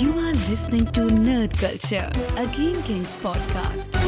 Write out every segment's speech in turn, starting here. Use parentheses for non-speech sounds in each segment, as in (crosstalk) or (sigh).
You are listening to Nerd Culture, a Game Kings podcast.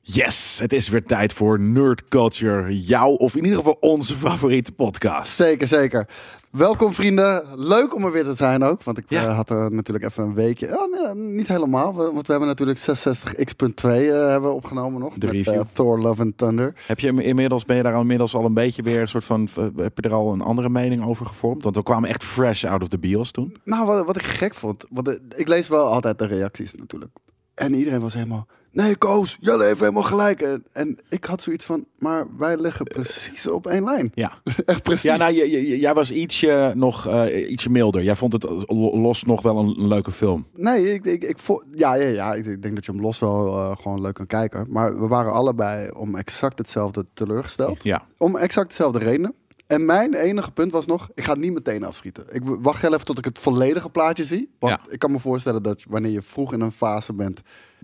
Yes, het is weer tijd voor Nerd Culture, jouw of in ieder geval onze favoriete podcast. Zeker, zeker. Welkom vrienden. Leuk om er weer te zijn ook. Want ik Ja. eh, had er natuurlijk even een weekje. Ja, nee, niet helemaal. we- Want we hebben natuurlijk 66X.2 eh, hebben we opgenomen nog. De met review. eh, Thor Love and Thunder. Heb je hem inmiddels, ben je daar inmiddels al een beetje weer een soort van, eh, heb je er al een andere mening over gevormd? Want we kwamen echt fresh out of the bios toen. Nou, wat, wat ik gek vond. Want eh, ik lees wel altijd de reacties natuurlijk. En iedereen was helemaal. Nee, Koos, jullie hebben helemaal gelijk. En, en ik had zoiets van. Maar wij liggen precies op één lijn. Ja, (laughs) Echt precies. ja nou, j- j- jij was ietsje, nog, eh, ietsje milder. Jij vond het lo- los nog wel een, een leuke film. Nee, ik, ik, ik vo- ja, ja, ja, ik, ik denk dat je hem los wel eh, gewoon leuk kan kijken. Maar we waren allebei om exact hetzelfde teleurgesteld. Ja. Om exact dezelfde redenen. En mijn enige punt was nog, ik ga het niet meteen afschieten. Ik w- wacht heel even tot ik het volledige plaatje zie. Want Ja. ik kan me voorstellen dat wanneer je vroeg in een fase bent...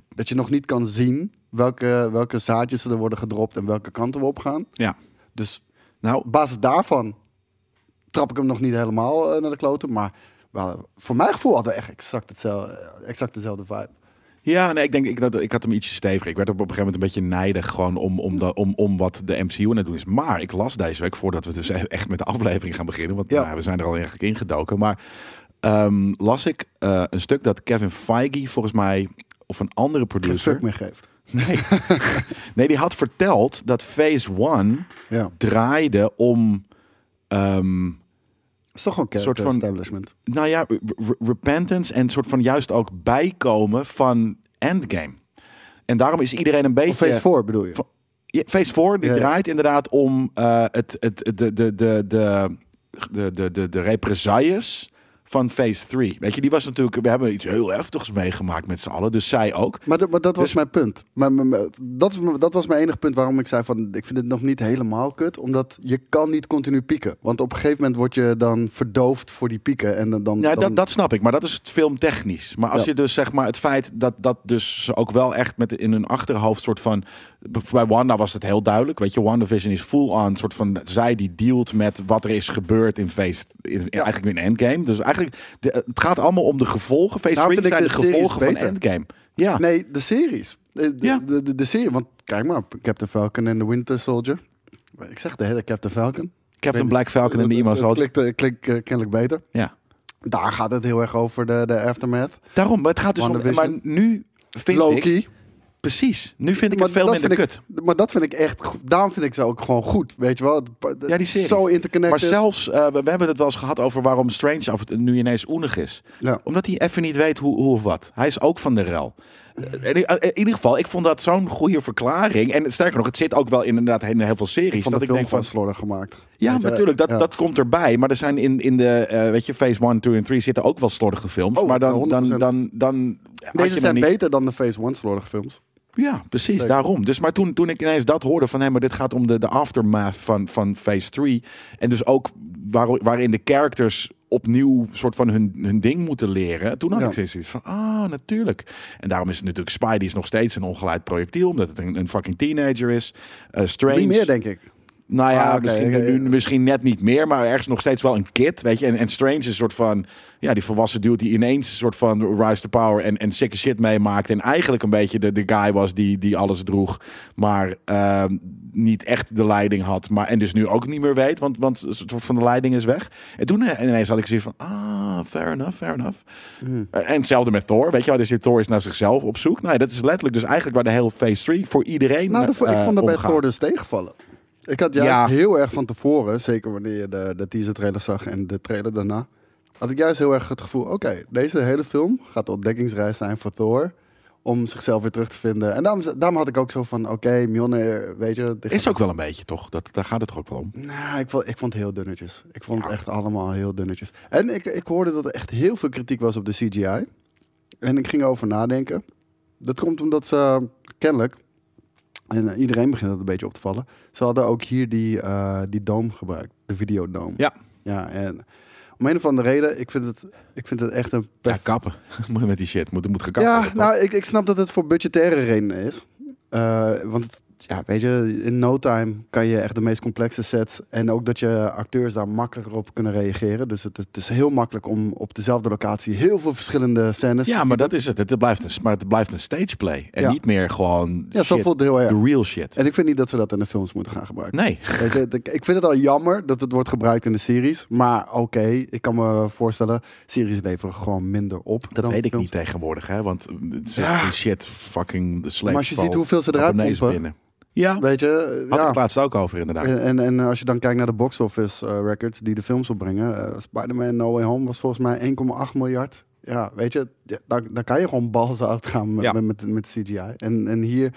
dat je nog niet kan zien welke, welke zaadjes er worden gedropt... en welke kanten we op gaan. Ja. Dus Nou, op basis daarvan trap ik hem nog niet helemaal eh, naar de kloten. Maar wel, voor mijn gevoel hadden we echt exact, hetzelfde, eh, exact dezelfde vibe. Ja, nee, ik denk ik, dat, ik had hem ietsje steviger. Ik werd op een gegeven moment een beetje nijdig gewoon om, om, dat- om, om wat de MCU aan het doen is. Maar ik las deze week voordat we dus e- echt met de aflevering gaan beginnen. Want Ja. nou ja, we zijn er al eigenlijk ingedoken. Maar ehm, las ik eh, een stuk dat Kevin Feige volgens mij, of een andere Geen producer... fuck meer geeft. Nee. (laughs) nee, die had verteld dat Phase One Ja. draaide om... ehm, is toch gewoon soort character van- establishment. nou ja, re- re- repentance en soort van juist ook bijkomen van Endgame. En daarom is iedereen een beetje... Of phase 4 bedoel je? Van- Ja, Phase 4 die Ja, ja. draait inderdaad om eh, het, het, het- de, de, de, de, de, de, de, de represailles van Phase 3. Weet je, die was natuurlijk... We hebben iets heel heftigs meegemaakt met z'n allen, dus zij ook. Maar, dat- maar dat was Dus- mijn punt. Maar, maar- maar- dat, is mijn- dat was mijn enige punt waarom ik zei van... ik vind het nog niet helemaal kut. Omdat je kan niet continu pieken. Want op een gegeven moment word je dan verdoofd voor die pieken. En dan, dan, Ja, dan- dat, dat snap ik, maar dat is het filmtechnisch. Maar als Ja. je dus zeg maar het feit dat dat dus ze ook wel echt met in hun achterhoofd soort van bij Wanda was het heel duidelijk, weet je, WandaVision is full on soort van zij die dealt met wat er is gebeurd in Phase in, eigenlijk in Endgame. Dus eigenlijk de- het gaat allemaal om de gevolgen. Phase Nou 3 vind ik zijn de, de series gevolgen van beter. Endgame. Ja. Nee, de series. Eh, De, de, Ja. de, de, de serie. Want kijk maar, Captain Falcon en The Winter Soldier. Ik zeg de hele Captain Falcon. Captain Black Falcon en de Emo Dat Soldier. klinkt, eh, klinkt, eh, kennelijk beter. Ja. Daar gaat het heel erg over, de, de aftermath. Daarom, maar het gaat dus om maar WandaVision. nu vind ik Loki. precies. Nu vind ik het Maar veel dat minder vind kut. ik- Maar dat vind ik echt... go- Daarom vind ik ze ook gewoon goed, weet je wel. Het- Ja, die serie. Zo interconnected. Maar zelfs, eh, we, we hebben het wel eens gehad over waarom Strange af en toe nu ineens oenig is. Ja. Omdat hij even niet weet hoe, hoe of wat. Hij is ook van de rel. Eh, In, in ieder geval, ik vond dat zo'n goede verklaring. En sterker nog, het zit ook wel inderdaad in heel veel series. van dat de ik film denk gewoon van, slordig gemaakt. ja, Weet je wel? natuurlijk, dat, Ja. dat komt erbij. Maar er zijn in, in de, eh, weet je, Phase 1, 2 en 3 zitten ook wel slordige films. Oh, maar dan, dan, 100%. dan, dan had je Deze hem zijn niet- beter dan de Phase 1 slordige films. Ja, precies, Zeker. daarom. Dus, maar toen, toen ik ineens dat hoorde van... hé, maar dit gaat om de, de aftermath van, van Phase 3... en dus ook waar, waarin de characters opnieuw soort van hun, hun ding moeten leren... toen had Ja. ik steeds zoiets van, ah, natuurlijk. En daarom is het natuurlijk... Spidey is nog steeds een ongeleid projectiel... omdat het een, een fucking teenager is. Eh, Strange... Niet meer, denk ik. Nou ja, Ah, oké, misschien, oké, nu, ja. misschien net niet meer, maar ergens nog steeds wel een kid, weet je. En, en Strange is een soort van, ja, die volwassen dude die ineens een soort van rise to power en, en sick shit meemaakt. En eigenlijk een beetje de, de guy was die, die alles droeg, maar ehm, niet echt de leiding had. Maar, en dus nu ook niet meer weet, want, want een soort van de leiding is weg. En toen eh, ineens had ik zoiets van, ah, fair enough, fair enough. Hmm. Eh, En hetzelfde met Thor, weet je wel. Dus hier Thor is naar zichzelf op zoek. Nou ja, dat is letterlijk dus eigenlijk waar de hele Phase 3 voor iedereen Nou, de- eh, ik vond dat bij omgaat. Thor dus tegenvallen. Ik had juist Ja. heel erg van tevoren, zeker wanneer je de, de teaser trailer zag en de trailer daarna, had ik juist heel erg het gevoel, oké, deze hele film gaat de ontdekkingsreis zijn voor Thor om zichzelf weer terug te vinden. En daarom, daarom had ik ook zo van, oké, Mjolnir, weet je... dit Is ook wel een beetje, toch? Dat, daar gaat het toch ook wel om. Nou, ik vond, ik vond het heel dunnetjes. Ik vond Ja. het echt allemaal heel dunnetjes. En ik, ik hoorde dat er echt heel veel kritiek was op de CGI. En ik ging erover nadenken. Dat komt omdat ze eh, kennelijk, en eh, iedereen begint dat een beetje op te vallen, ze hadden ook hier die, eh die dome gebruikt, de videodome. Ja. Ja, en om een of andere reden, ik vind het, ik vind het echt een Ja, perfect... kappen. (laughs) Moet met die shit. Moet, moet gekapt Ja, worden, toch? nou, ik, ik snap dat het voor budgettaire redenen is. Eh, want het- ja, weet je, in no time kan je echt de meest complexe sets. En ook dat je acteurs daar makkelijker op kunnen reageren. Dus het, het is heel makkelijk om op dezelfde locatie heel veel verschillende scènes. te Ja, zien. maar dat is het. Het blijft een, maar het blijft een stageplay. En Ja. niet meer gewoon Ja, zo shit, voelt het heel erg. the real shit. En ik vind niet dat ze dat in de films moeten gaan gebruiken. Nee. Weet je, ik- ik vind het al jammer dat het wordt gebruikt in de series. Maar oké, ik kan me voorstellen, series leveren gewoon minder op. Dat dan weet ik films. niet tegenwoordig, hè? Want het is Ja. echt die shit fucking de slecht. Maar als je ziet hoeveel ze eruit pompen. binnen. Ja, had Weet je, ik ja. het laatst ook over inderdaad. En, en, en als je dan kijkt naar de box office eh, records die de films opbrengen. eh, Spider-Man No Way Home was volgens mij 1,8 miljard. Ja, weet je, ja, daar, daar kan je gewoon balls uit gaan met, Ja. met, met, met CGI. En, en hier,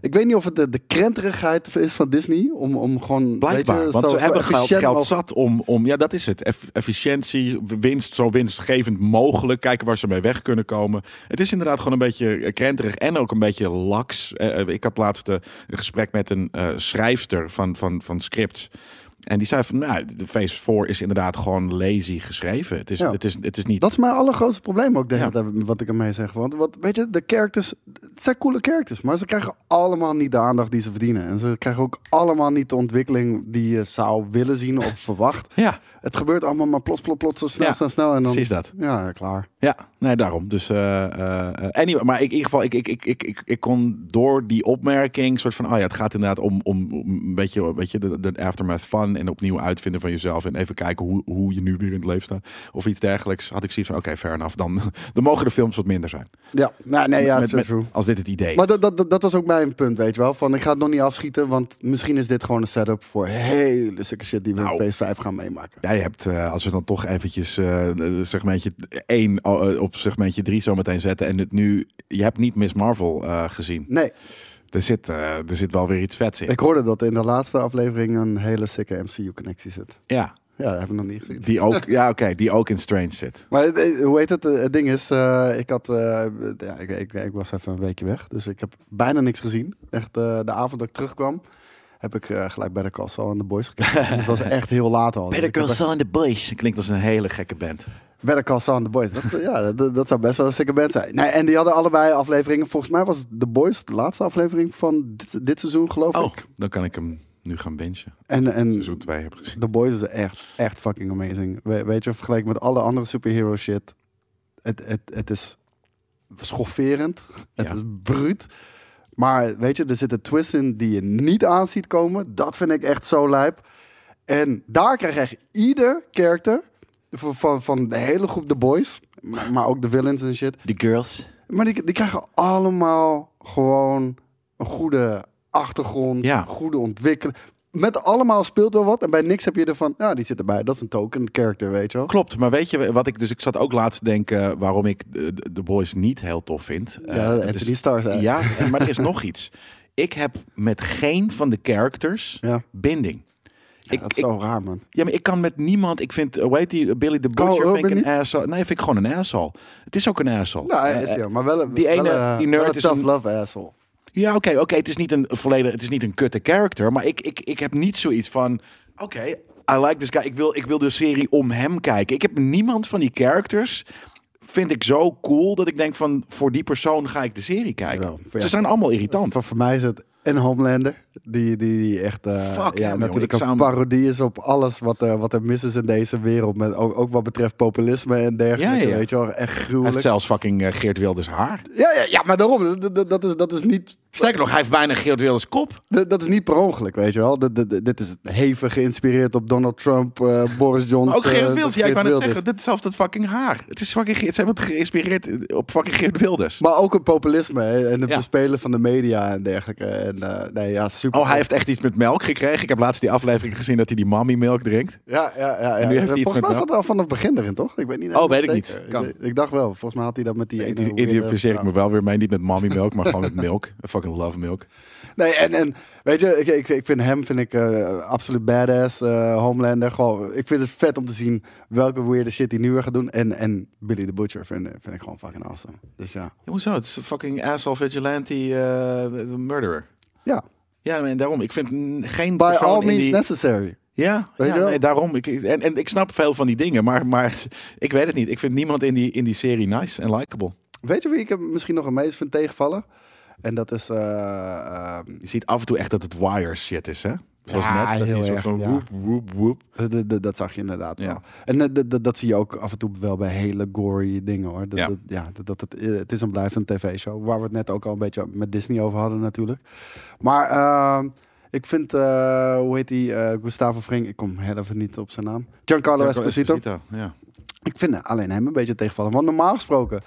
ik weet niet of het de, de krenterigheid is van Disney om, om gewoon. Blijkbaar, weet je, want zo- ze zo hebben geld, efficiënt geld mogelijk- zat om, om, ja dat is het, Eff- efficiëntie, winst, zo winstgevend mogelijk, kijken waar ze mee weg kunnen komen. Het is inderdaad gewoon een beetje eh, krenterig en ook een beetje laks. Eh, eh, ik had laatst eh, een gesprek met een eh, schrijfster van, van, van scripts. En die zei van, nou, de Phase 4 is inderdaad gewoon lazy geschreven. Het is, Ja. het is, het is niet... Dat is mijn allergrootste probleem ook, de hele Ja. tijd, wat ik ermee zeg. Want wat, weet je, de characters, het zijn coole characters, maar ze krijgen allemaal niet de aandacht die ze verdienen. En ze krijgen ook allemaal niet de ontwikkeling die je zou willen zien of (laughs) verwacht. Ja, Het gebeurt allemaal maar plots, plots, plots, zo snel, Ja, snel, snel. En dan, precies dat. Ja, klaar. Ja, nee, daarom. Dus, eh, eh, eh, anyway, maar ik, in ieder geval, ik, ik, ik, ik, ik, ik kon door die opmerking, soort van, oh ja, het gaat inderdaad om, om, om een beetje, weet je, de, de aftermath van en opnieuw uitvinden van jezelf en even kijken hoe, hoe je nu weer in het leven staat of iets dergelijks. Had ik zoiets van, oké, fair enough, dan, (laughs) dan mogen de films wat minder zijn. Ja, nee, Ah, nee, ja, Met- true, met- true. als dit het idee Maar dat, dat, dat, dat was ook mijn punt, weet je wel. Van, ik ga het nog niet afschieten, want misschien is dit gewoon een setup voor hele stukken shit die we Nou. in Phase 5 gaan meemaken. Jij hebt, eh, als we dan toch eventjes eh, segmentje 1 op segmentje 3 zo meteen zetten en het nu, je hebt niet Miss Marvel eh, gezien. Nee, Er zit, eh, er zit wel weer iets vets in. ik hoorde dat in de laatste aflevering een hele sikke MCU-connectie zit. Ja. Ja, dat heb ik nog niet gezien. Die (laughs) ook, ja, oké, die ook in Strange zit. Maar eh, hoe heet het? Eh, Het ding is, eh, ik, had, eh, ja, ik, ik, ik was even een weekje weg, dus ik heb bijna niks gezien. Echt, eh, de avond dat ik terugkwam, heb ik eh, gelijk bij de Call Saul en de Boys gekeken. (laughs) Het was echt heel laat al. Dus ik heb echt- and the Boys. Klinkt als een hele gekke band. Better Call Saul en The Boys. Dat, ja, dat, dat zou best wel een sikke band zijn. Nee, en die hadden allebei afleveringen. Volgens mij was The Boys de laatste aflevering van dit, dit seizoen, geloof Oh, ik. dan kan ik hem nu gaan bingen. En, en Seizoen 2 heb ik gezien. The Boys is echt, echt fucking amazing. We- weet je, vergeleken met alle andere superhero shit. Het, het, het is schofferend. Het Ja. is bruut. Maar weet je, er zitten twists in die je niet aan ziet komen. Dat vind ik echt zo lijp. En daar krijg je echt ieder character van, van, van de hele groep The Boys. Maar, maar ook de villains en shit. The Girls. Maar die, die krijgen allemaal gewoon een goede achtergrond, Ja. goede ontwikkeling. Met allemaal speelt wel wat en bij niks heb je ervan, ja, die zit erbij. Dat is een token character, weet je wel. Klopt, maar weet je wat ik... Dus ik zat ook laatst te denken waarom ik eh, The Boys niet heel tof vind. Eh, Ja, het Anthony is- Starr zei. Ja, en- maar er is nog iets. Ik heb met geen van de characters Ja. binding. Ja, Ik, dat is ik, zo raar, man. ja, maar ik kan met niemand. Ik vind, eh, hoe heet die, Billy the Butcher, vind ik Urban een niet? asshole. Nee, vind ik gewoon een asshole. Het is ook een asshole. Nou, hij Eh, is ja, maar wel een, die wel ene- een- die nerd wel een is tough een- love asshole. Ja, oké, oké. Het is niet een volledig, het is niet een kutte character, maar ik, ik, ik heb niet zoiets van, oké, I like this guy. Ik wil, ik wil de serie om hem kijken. Ik heb niemand van die characters vind ik zo cool dat ik denk van, voor die persoon ga ik de serie kijken. Jawel, ja. Ze zijn allemaal irritant. Want voor mij is het een Homelander, die, die, die echt eh, Fuck ja, hem, natuurlijk joh. Ik een zou hem- parodie is op alles wat, eh, wat er mis is in deze wereld. Met, ook, ook wat betreft populisme en dergelijke, Ja, ja, ja. weet je wel. Echt Hij gruwelijk. heeft zelfs fucking eh, Geert Wilders haar. Ja, ja, ja, maar daarom, dat, dat- dat, is, dat is niet Sterker nog, hij heeft bijna Geert Wilders kop. Dat, dat is niet per ongeluk, weet je wel. Dat, dat- dat- dit is hevig geïnspireerd op Donald Trump, eh, Boris Johnson. Maar ook eh, Geert Wilders, ja, ik wou net Wilders. zeggen, dit is zelfs dat fucking haar. Het is fucking, Geert- ze hebben het geïnspireerd eh, op fucking Geert Wilders. Maar ook het populisme hè, en het Ja. bespelen van de media en dergelijke. En, eh, nee, ja, super. Oh, hij heeft echt iets met melk gekregen. Ik heb laatst die aflevering gezien dat hij die mommy melk drinkt. Ja, ja, ja. ja. En nu heeft hij iets volgens met mij melk. zat er al vanaf het begin erin, toch? Ik weet niet. Oh, weet ik zeker. niet. Kan. Ik, ik dacht wel. Volgens mij had hij dat met die... Ik eh, ene eh, identificeer ik weirde me wel weer mee. Niet met mommy milk, maar gewoon met milk. (laughs) I fucking love milk. Nee, en, en weet je, ik, ik, ik vind hem vind ik, eh, absoluut badass, eh, Homelander. Gewoon, ik vind het vet om te zien welke weirde shit hij nu weer gaat doen. En, en Billy the Butcher vind, vind ik gewoon fucking awesome. Dus ja. Ja, hoezo? Het is een fucking asshole vigilante eh, de- de murderer. Ja, Ja, en daarom. Ik vind mm, geen by persoon all in means die... necessary. Ja, Weet ja je wel? nee, daarom. Ik, en, en ik snap veel van die dingen, maar, maar (laughs) ik weet het niet. Ik vind niemand in die, in die serie nice en likable. Weet je wie ik hem misschien nog het meest vind tegenvallen? En dat is... eh, ehm, Je ziet af en toe echt dat het wire shit is, hè? Zoals Ja, net, dat heel die soort erg, van ja. woep, woep, woep. Dat- Dat, dat, dat zag je inderdaad Ja. wel. En eh, dat, dat, dat zie je ook af en toe wel bij hele gory dingen hoor. Dat, Ja. Dat, ja, dat, dat, het, eh, het is een blijvende tv-show. Waar we het net ook al een beetje met Disney over hadden natuurlijk. Maar ehm, ik vind, eh, hoe heet die, eh, Gustavo Fring. Ik kom heel even niet op zijn naam. Giancarlo Esposito. Ja. Ik vind alleen hem een beetje tegenvallen. Want normaal gesproken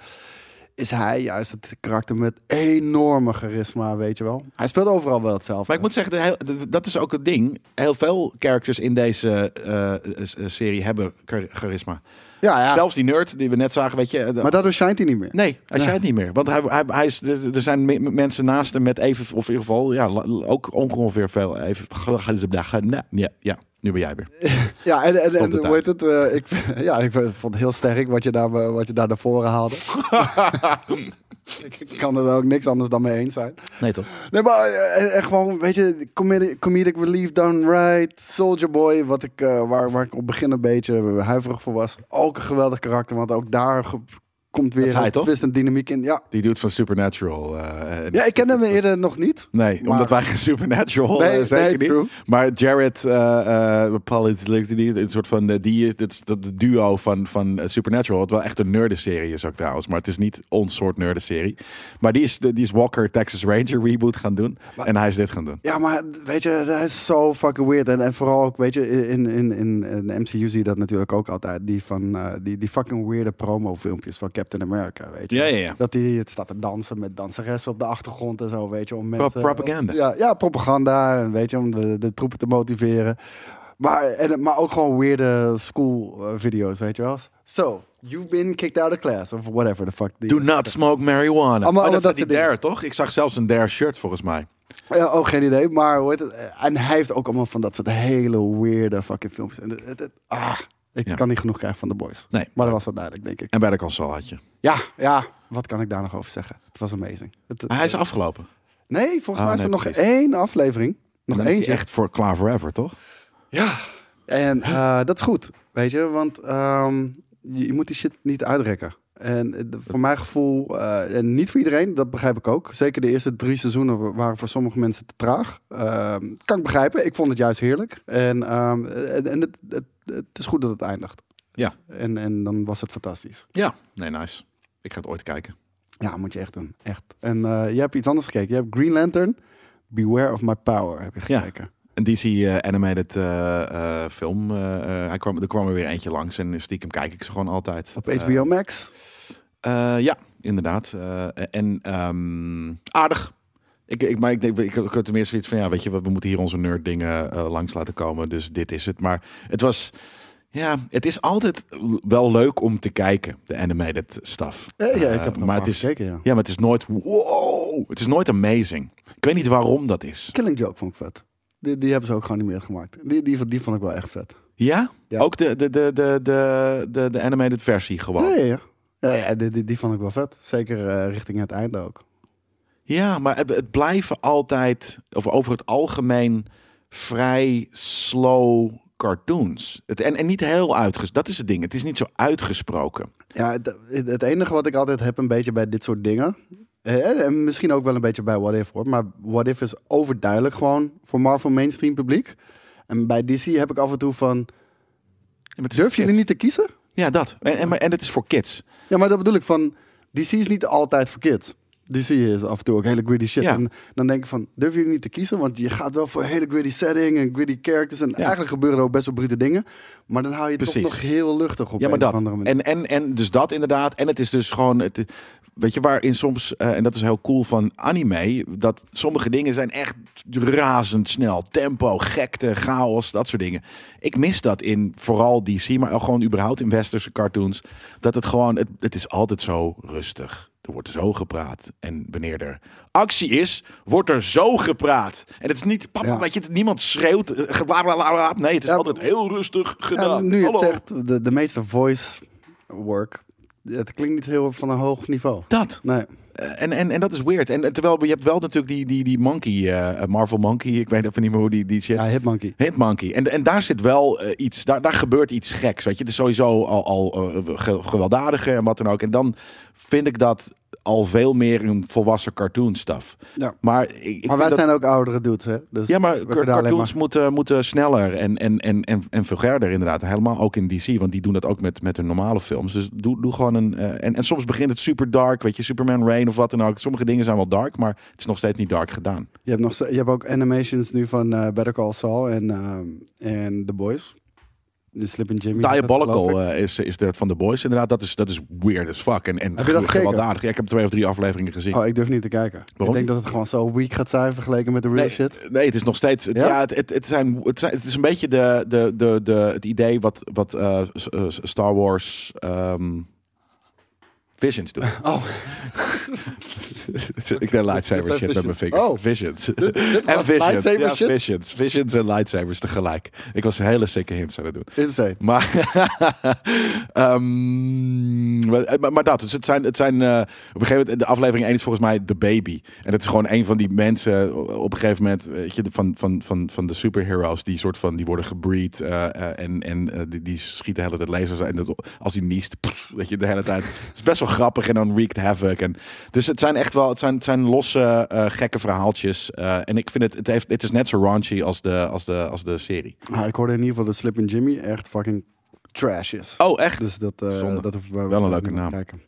is hij juist het karakter met enorme charisma, weet je wel. Hij speelt overal wel hetzelfde. Maar ik moet zeggen, de heel- de- dat is ook het ding. Heel veel characters in deze eh, eh, eh, serie hebben char- charisma. ja, ja. Zelfs die nerd die we net zagen, weet je. eh, de- maar daardoor schijnt hij niet meer. Nee, hij Ja. schijnt niet meer. Want hij, hij, hij is, er er zijn me- mensen naast hem met even, of in ieder geval, ja, la- la- ook ongeveer veel. Even, (laughs) ja, ja, nu ben jij (laughs) weer. Ja, en, en, Komt en het hoe heet het? eh, ik, vind- (laughs) ja, ik vind- vond het heel sterk wat je daar, wat je daar naar voren haalde. (laughs) ik kan er ook niks anders dan mee eens zijn. Nee, toch? Nee, maar eh, en, en gewoon, weet je, comedic, comedic relief done right. Soldier Boy, wat ik, eh, waar, waar ik op het begin een beetje huiverig voor was. Ook een geweldig karakter, want ook daar ge- komt Dat weer is hij, een toch? twist en dynamiek in. Ja. Die doet van Supernatural. eh, en- ja, ik kende hem eerder nog niet. Nee, Maar- omdat wij geen Supernatural Nee, eh, nee, zeker niet. true. Maar Jared eh eh Pollitt, die een soort van eh, die is dat, dat duo van, van eh, Supernatural, wat wel echt een nerdenserie is ook trouwens, maar het is niet ons soort nerdenserie. Maar die is, die is Walker Texas Ranger reboot gaan doen en hij is dit gaan doen. Ja, maar weet je, dat is zo fucking weird. En, en vooral ook, weet je, in, in, in, in de MCU zie je dat natuurlijk ook altijd. Die, van, eh, die, die fucking weirde promo-filmpjes van Captain America, weet je. Ja, ja, ja. Dat hij het staat te dansen met danseressen op de achtergrond en zo, weet je. Om Pro- mensen, propaganda. Ja, ja, propaganda, en weet je, om de, de troepen te motiveren. Maar, en, maar ook gewoon weirde school-video's, weet je wel. So, you've been kicked out of class, of whatever the fuck. die- Do not smoke marijuana. Allemaal- oh, allemaal dat, dat is die soort dingen. Dare, toch? Ik zag zelfs een Dare shirt volgens mij. Ja, ook geen idee, maar hoe heet het? En hij heeft ook allemaal van dat soort hele weirde fucking films. En het, het- het- ah, ik Ja. kan niet genoeg krijgen van de boys. Nee. Maar dat was dat duidelijk, denk ik. En bij de console had je. Ja, ja, wat kan ik daar nog over zeggen? Het was amazing. Het, Maar hij is afgelopen. nee, volgens Ah, mij is er nee, nog precies. één aflevering. Nog Dan is hij eentje. echt voor klaar forever, toch? Ja. En eh, dat is goed, weet je, want ehm, je, je moet die shit niet uitrekken. En eh, de- voor mijn gevoel, eh, en niet voor iedereen, dat begrijp ik ook. Zeker de eerste drie seizoenen wa- waren voor sommige mensen te traag. Ehm, kan ik begrijpen, ik vond het juist heerlijk. En, ehm, en, en het, het, het is goed dat het eindigt. Ja. En, en dan was het fantastisch. Ja. Nee, nice. Ik ga het ooit kijken. Ja, moet je echt doen, echt. En eh, je hebt iets anders gekeken. Je hebt Green Lantern, Beware of My Power heb je Ja. gekeken. Een DC eh, animated eh, eh, film. eh, eh, hij kwam, er kwam er weer eentje langs en stiekem kijk ik ze gewoon altijd. Op Eh, HBO Max. eh, ja, inderdaad. Eh, en ehm, aardig. Ik, ik, maar ik, denk- ik, ik had tenminste zoiets van, ja, weet je, we, we moeten hier onze nerd dingen eh, langs laten komen. Dus dit is het. Maar het was, ja, het is altijd wel leuk om te kijken, de animated stuff. Ja, ja, ik Eh, heb er maar maar het is, gekeken, ja. Ja, maar het is nooit, wow, het is nooit amazing. Ik weet niet waarom dat is. Killing Joke vond ik vet. Die, die hebben ze ook geanimeerd gemaakt. Die, die, die vond ik wel echt vet. Ja? Ja. Ook de, de, de, de, de, de, de animated versie gewoon. Ja, ja, ja. Ja, ja, die, die, die vond ik wel vet. Zeker eh, richting het einde ook. Ja, maar het, het blijven altijd, of over het algemeen, vrij slow cartoons. Het, en, en niet heel uitgesproken. Dat is het ding. Het is niet zo uitgesproken. Ja, het, het- het enige wat ik altijd heb een beetje bij dit soort dingen... eh, en misschien ook wel een beetje bij What If hoor. Maar What If is overduidelijk gewoon voor Marvel mainstream publiek. En bij DC heb ik af en toe van... Ja, maar het is Durf voor jullie kids. niet te kiezen? Ja, dat. En, en, maar- en het is voor kids. Ja, maar dat bedoel ik van... DC is niet altijd voor kids. DC is af en toe ook hele gritty shit. Ja. En dan denk ik van, durf je niet te kiezen? Want je gaat wel voor een hele gritty setting en gritty characters. En eigenlijk gebeuren er ook best wel brute dingen. Maar dan hou je het toch Precies. nog heel luchtig op Ja, maar een of dat. andere manier. En, en, en dus dat inderdaad. En het is dus gewoon. Het, weet je waarin soms, eh, en dat is heel cool van anime, dat sommige dingen zijn echt razendsnel. Tempo, gekte, chaos, dat soort dingen. Ik mis dat in vooral DC, maar ook gewoon überhaupt in westerse cartoons. Dat het gewoon, het, het is altijd zo rustig. Er wordt zo gepraat. En wanneer er actie is, wordt er zo gepraat. En het is niet, papa, Ja. weet je, het- niemand schreeuwt. eh, bla, bla, bla, bla. Nee, het is Ja, altijd heel rustig gedaan. Ja, nu je het Hallo. zegt, de, de meeste voice work... Het klinkt niet heel van een hoog niveau. Dat. Nee. Eh, en, en, en dat is weird. En, en terwijl je hebt wel natuurlijk die, die, die monkey, eh, Marvel Monkey, ik weet even niet meer hoe die, die shit. Ja, Hitmonkey. Hit Monkey. En, en daar zit wel eh, iets, daar, daar gebeurt iets eh, geks. Weet je, het is sowieso al, al eh, ge- gewelddadiger en wat dan ook. En dan vind ik dat al veel meer een volwassen cartoon stuff. Ja. Maar, ik, ik Maar wij vind dat- zijn ook oudere dudes, hè? Dus Ja, maar we car- kunnen daar alleen cartoons moeten, moeten sneller en, en, en, en, en veel verder inderdaad. Helemaal ook in DC, want die doen dat ook met, met hun normale films. Dus doe, doe gewoon een... eh, en, en soms begint het super dark, weet je, Superman Rain of wat dan ook. Sommige dingen zijn wel dark, maar het is nog steeds niet dark gedaan. Je hebt, nog, zo- je hebt ook animations nu van eh, Better Call Saul en, ehm, en The Boys. De Slip and Jimmy. is dat, geloof ik. Diabolical eh, is, is de, van The Boys inderdaad. Dat is, dat is weird as fuck. En, en Heb je dat gekeken? gewelddadig. Ja, ik heb twee of drie afleveringen gezien. Oh, ik durf niet te kijken. Waarom? Ik denk dat het gewoon zo weak gaat zijn vergeleken met de real Nee, shit. nee, het is nog steeds. het- Ja, Ja? het, het, het, zijn, het, zijn- het is een beetje de, de, de, de, het idee wat, wat eh, s- eh, Star Wars ehm, Visions doet. (laughs) Oh, (laughs) ik deed lightsaber Dit zijn shit met mijn visions. vinger. Oh. Visions. dit en was visions. lightsaber ja, shit? Visions. Visions en lightsabers tegelijk. Ik was een hele sikke hints aan het doen. insane. Maar, (laughs) ehm, maar, maar- maar dat, dus het zijn, het zijn eh, op een gegeven moment, de aflevering 1 is volgens mij The Baby. En dat is gewoon een van die mensen eh, op een gegeven moment, weet je, van, van, van, van de superheroes, die soort van, die worden gebreed eh, eh, en, en eh, die, die schieten de hele tijd lasers. En dat, als hij niest, pff, weet je, de hele (laughs) tijd. Het is best wel grappig en dan wreaked havoc. En, dus het zijn echt wel, het zijn, het zijn losse, eh, gekke verhaaltjes. Eh, en ik vind het, het, heeft, het is net zo raunchy als de, als de, als de serie. Ah, ik hoorde in ieder geval dat Slip and Jimmy echt fucking trash is. Oh, echt? Dus dat, eh Zonde. dat hoeven we Wel een niet leuke meer te naam. Kijken.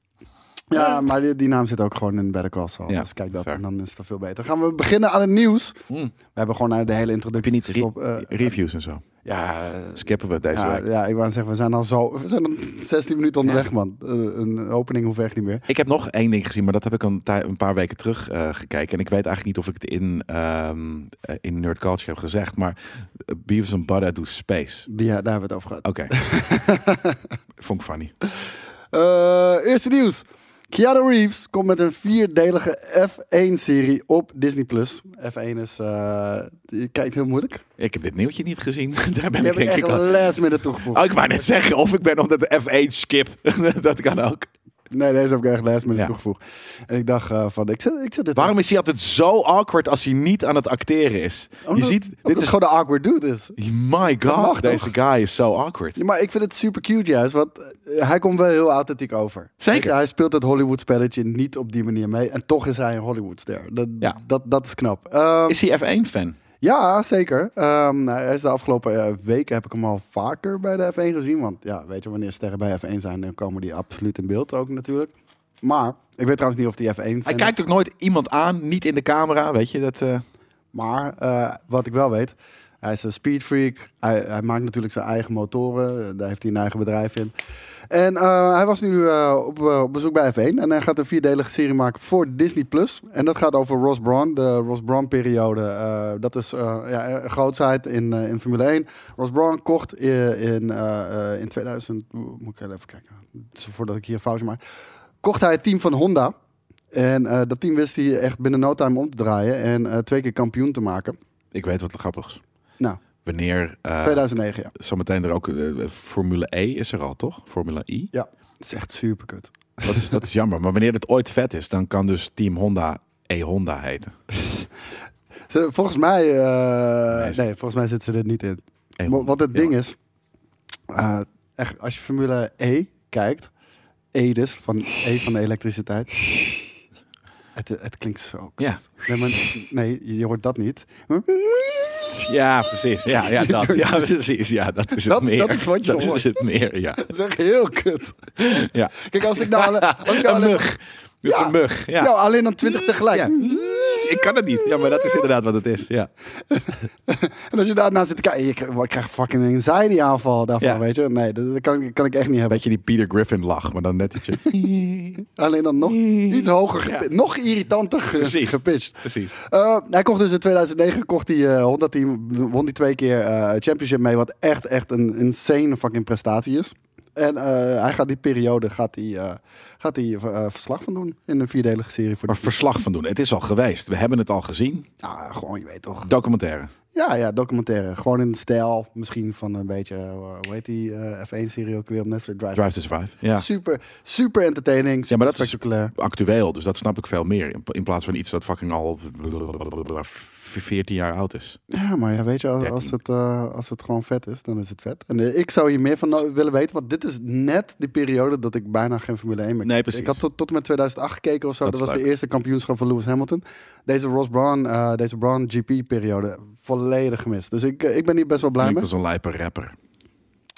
Ja, maar die, die naam zit ook gewoon in Better Call Saul. Ja, dus kijk dat fair. en dan is dat veel beter. Gaan we beginnen aan het nieuws. Mm. We hebben gewoon eh, de hele introductie Heb je niet gestop- eh, Reviews en zo. ja, eh, Skippen we deze ja, week. ja, ik wou zeggen, we zijn al zo... (laughs) We zijn al 16 minuten onderweg, man. Eh, een opening hoeft echt niet meer. Ik heb nog één ding gezien, maar dat heb ik een, tij- een paar weken terug eh, gekeken. En ik weet eigenlijk niet of ik het in, ehm, eh, in Nerd Culture heb gezegd, maar eh, Beavis and Butter doet Space. Die, ja, daar hebben we het over gehad. (laughs) Oké. Vond ik funny. Eh, eerste nieuws. Keanu Reeves komt met een vierdelige F1-serie op Disney+. F1 is... eh, je kijkt heel moeilijk. Ik heb dit nieuwtje niet gezien. (laughs) Daar ben Die ik heb ik denk echt ik al... last minute toegevoegd. Oh, ik wou net zeggen, of ik ben omdat de F1 skip. (laughs) dat kan ook. Nee, deze heb ik echt last minute Ja. toegevoegd. En ik dacht eh, van, ik zet, ik zet dit... Waarom is hij altijd zo awkward als hij niet aan het acteren is? Oh, Je ziet, dit is is... gewoon de awkward dude is. My mag god, toch? deze guy is zo awkward. Ja, maar ik vind het super cute juist, want eh, hij komt wel heel authentiek over. Zeker. Weet je, hij speelt het Hollywood spelletje niet op die manier mee. En toch is hij een Hollywoodster. Dat, Ja. dat, dat is knap. Ehm, Is hij F1-fan? Ja, zeker. Ehm, nou, hij is de afgelopen eh, weken heb ik hem al vaker bij de F1 gezien. Want ja, weet je, wanneer sterren bij F1 zijn, dan komen die absoluut in beeld ook natuurlijk. Maar, ik weet trouwens niet of die F1 Hij fan is. kijkt ook nooit iemand aan, niet in de camera, weet je. Dat, eh, Maar eh, wat ik wel weet, hij is een speedfreak. Hij, hij maakt natuurlijk zijn eigen motoren. Daar heeft hij een eigen bedrijf in. En eh, hij was nu eh, op, eh, op bezoek bij F1. En hij gaat een vierdelige serie maken voor Disney+. Plus. En dat gaat over Ross Braun, de Ross Braun-periode. Eh, dat is eh, ja, een grootheid in, eh, in Formule 1. Ross Braun kocht in, in, eh, eh, in 2000... Oeh, moet ik even kijken. Het is Voordat ik hier een foutje maak. Kocht hij het team van Honda. En eh, dat team wist hij echt binnen no time om te draaien. En eh, twee keer kampioen te maken. ik weet wat grappigs. Nou, Wanneer, eh, 2009, ja. zometeen er ook, eh, Formule E is er al, toch? Formule I. Ja, het is echt super kut. Dat is, dat is jammer. Maar wanneer het ooit vet is, dan kan dus Team Honda E-Honda heten. Volgens mij, eh, Nee, ze- nee, volgens mij zitten ze er niet in. E-Honda. Maar Wat het ding E Ja. is, eh, echt, als je Formule E kijkt, E dus, van E van de elektriciteit. Het, het klinkt zo kut. Ja. Nee, maar- nee, je hoort dat niet. Maar- Ja, precies. Ja, ja, dat. ja, (laughs) precies. Ja, dat is het Dat- meer. dat is wat je Dat hoort. is het meer, ja. Dat is echt heel kut. ja. Kijk, als ik nou, alle- als ik (laughs) nou Een alleen, mug. Dat is Ja. een mug, ja. nou, alleen dan 20 tegelijk. Ja. Ik kan het niet. Ja, maar dat is inderdaad wat het is, ja. En als je daarna zit te kijken, je krijgt- ik krijg fucking een anxiety aanval daarvan, Ja. weet je. Nee, dat, dat kan, ik- kan ik echt niet hebben. Beetje die Peter Griffin lach, maar dan net (laughs) ietsje... Alleen dan nog iets hoger, gepi- Ja. nog irritanter ge- Precies. gepitcht. Precies. Eh, hij kocht dus in 2009 kocht hij, eh, Honda Team, won die twee keer eh, championship mee, wat echt, echt een insane fucking prestatie is. En eh, hij gaat die periode gaat hij, eh, gaat hij, eh, verslag van doen in een vierdelige serie. Voor de Maar verslag van doen. Het is al geweest. We hebben het al gezien. Ah, gewoon, je weet toch. Documentaire. Ja, ja, documentaire. Gewoon in de stijl misschien van een beetje, eh, hoe heet die eh, F1-serie ook weer op Netflix? Drive. Drive to Survive. Ja. Super, super entertaining, super Ja, maar dat is spectaculair. actueel. Dus dat snap ik veel meer. In, in plaats van iets dat fucking al ongeveer 14 jaar oud is. Ja, maar ja, weet je, als, als het, eh, als het gewoon vet is, dan is het vet. En eh, ik zou hier meer van nou- willen weten, want dit is net die periode dat ik bijna geen Formule 1 meer Nee, keek. precies. Ik had tot, tot en met 2008 gekeken of zo. Dat Dat, is was de leuk. eerste kampioenschap van Lewis Hamilton. Deze Ross Brown, eh, deze Brown GP-periode, volledig gemist. Dus ik, eh, ik ben hier best wel blij Klinkt mee. als een lijpe rapper.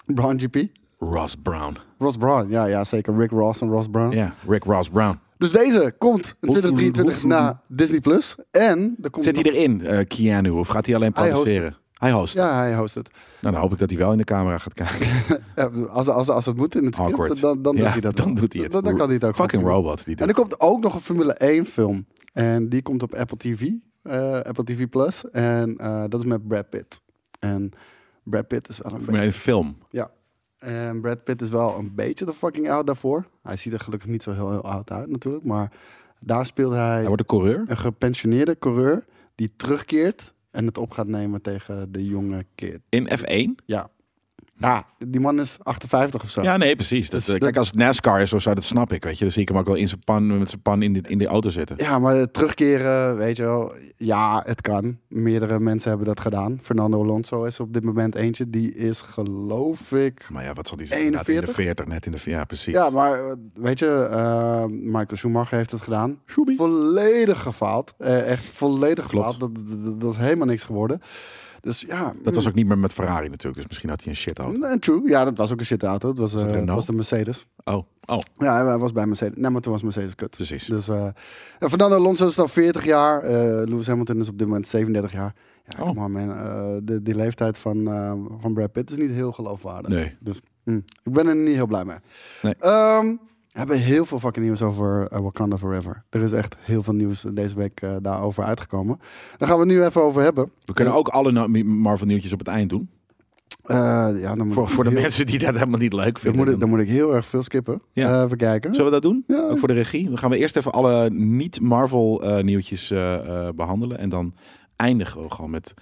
Brown GP. Ross Brown. Ross Brown, ja, ja, zeker. Rick Ross en Ross Brown. Ja, Rick Ross Brown. Dus deze komt in 2023 hoeveel- naar Disney+. Plus. En er komt Zit nog- hij erin, eh, Keanu? Of gaat hij alleen Hij host produceren? Hij host. Ja, hij host het. Nou, dan hoop ik dat hij wel in de camera gaat kijken. (laughs) Ja, als, als, als het moet in het script, Awkward. dan, dan Ja, doet hij (laughs) dat. Dan wel. doet hij het. Dan, dan kan hij het ook. Fucking goed doen. robot. Die En doet. er komt ook nog een Formule 1 film. En die komt op Apple TV. eh, Apple TV Plus. En eh, dat is met Brad Pitt. En Brad Pitt is wel een Maar beetje... een film. Ja. En Brad Pitt is wel een beetje de fucking oud daarvoor. Hij ziet er gelukkig niet zo heel, heel oud uit natuurlijk. Maar daar speelt hij Hij wordt een coureur. een gepensioneerde coureur die terugkeert en het op gaat nemen tegen de jonge kid. In F1? Ja. Ja, die man is 58 of zo. Ja, nee, precies. Dat, Dus eh, dat- kijk, als het NASCAR is of zo, dat snap ik. Weet je. Dan zie ik hem ook wel in zijn pan, met zijn pan in, dit, in de auto zitten. Ja, maar terugkeren, weet je wel. Ja, het kan. Meerdere mensen hebben dat gedaan. Fernando Alonso is op dit moment eentje. Die is geloof ik... Maar ja, wat zal die zeggen? Inderdaad, In de 41? 40, net in de... Ja, precies. Ja, maar eh, weet je, eh, Michael Schumacher heeft het gedaan. Schumi. Volledig gefaald. Eh, echt volledig Klopt. gefaald. Dat, dat, dat- dat is helemaal niks geworden. Dus ja... Dat was ook niet meer met Ferrari natuurlijk. Dus misschien had hij een shit auto. Nee, True, ja, dat was ook een shitauto. Het was, eh, het het Renault? was de Mercedes. Oh, oh, Ja, hij was bij Mercedes. Nee, maar toen was Mercedes kut. precies. Dus eh, en Fernando Alonso is dan 40 jaar. eh, Lewis Hamilton is op dit moment 37 jaar. Ja, Oh. come on, man. Eh, de, die leeftijd van, eh, van Brad Pitt is niet heel geloofwaardig. Nee. Dus mm, ik ben er niet heel blij mee. Nee. Ehm, we hebben heel veel fucking nieuws over eh, Wakanda Forever. Er is echt heel veel nieuws deze week eh, daarover uitgekomen. Daar gaan we het nu even over hebben. We kunnen ook alle no- Marvel nieuwtjes op het eind doen. Eh, ja, dan moet Voor, ik voor de heel- mensen die dat helemaal niet leuk Dan vinden. moet, ik, dan moet ik heel erg veel skippen. Ja. Eh, even kijken. Zullen we dat doen? Ja. Ook voor de regie. Dan gaan we eerst even alle niet-Marvel eh, nieuwtjes eh, eh, behandelen. En dan eindigen we gewoon met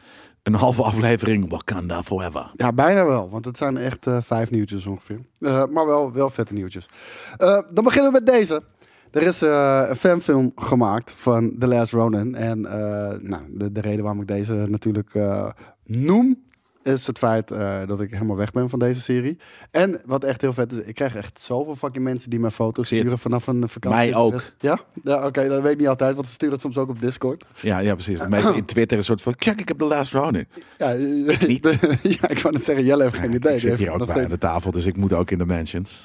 een halve aflevering Wakanda Forever. Ja, bijna wel. Want het zijn echt eh, vijf nieuwtjes ongeveer. Eh, maar wel, wel vette nieuwtjes. Eh, dan beginnen we met deze. Er is eh, een fanfilm gemaakt van The Last Ronin. En eh, nou, de, de reden waarom ik deze natuurlijk eh, noem... is het feit eh, dat ik helemaal weg ben van deze serie. En wat echt heel vet is... ik krijg echt zoveel fucking mensen die mij foto's Shit. sturen vanaf een vakantie. Dus, Mij ook. Ja? ja Oké, dat weet ik niet altijd. Want ze sturen het soms ook op Discord. Ja, ja precies. Dat (clears throat) Mensen in Twitter een soort van, kijk, ik heb de Last Ronin. Ja, eh, niet. (laughs) ja, ik wou net zeggen, Jelle heeft geen idee. ik Die zit heeft hier ook nog bij steeds aan de tafel, dus ik moet ook in de mansions.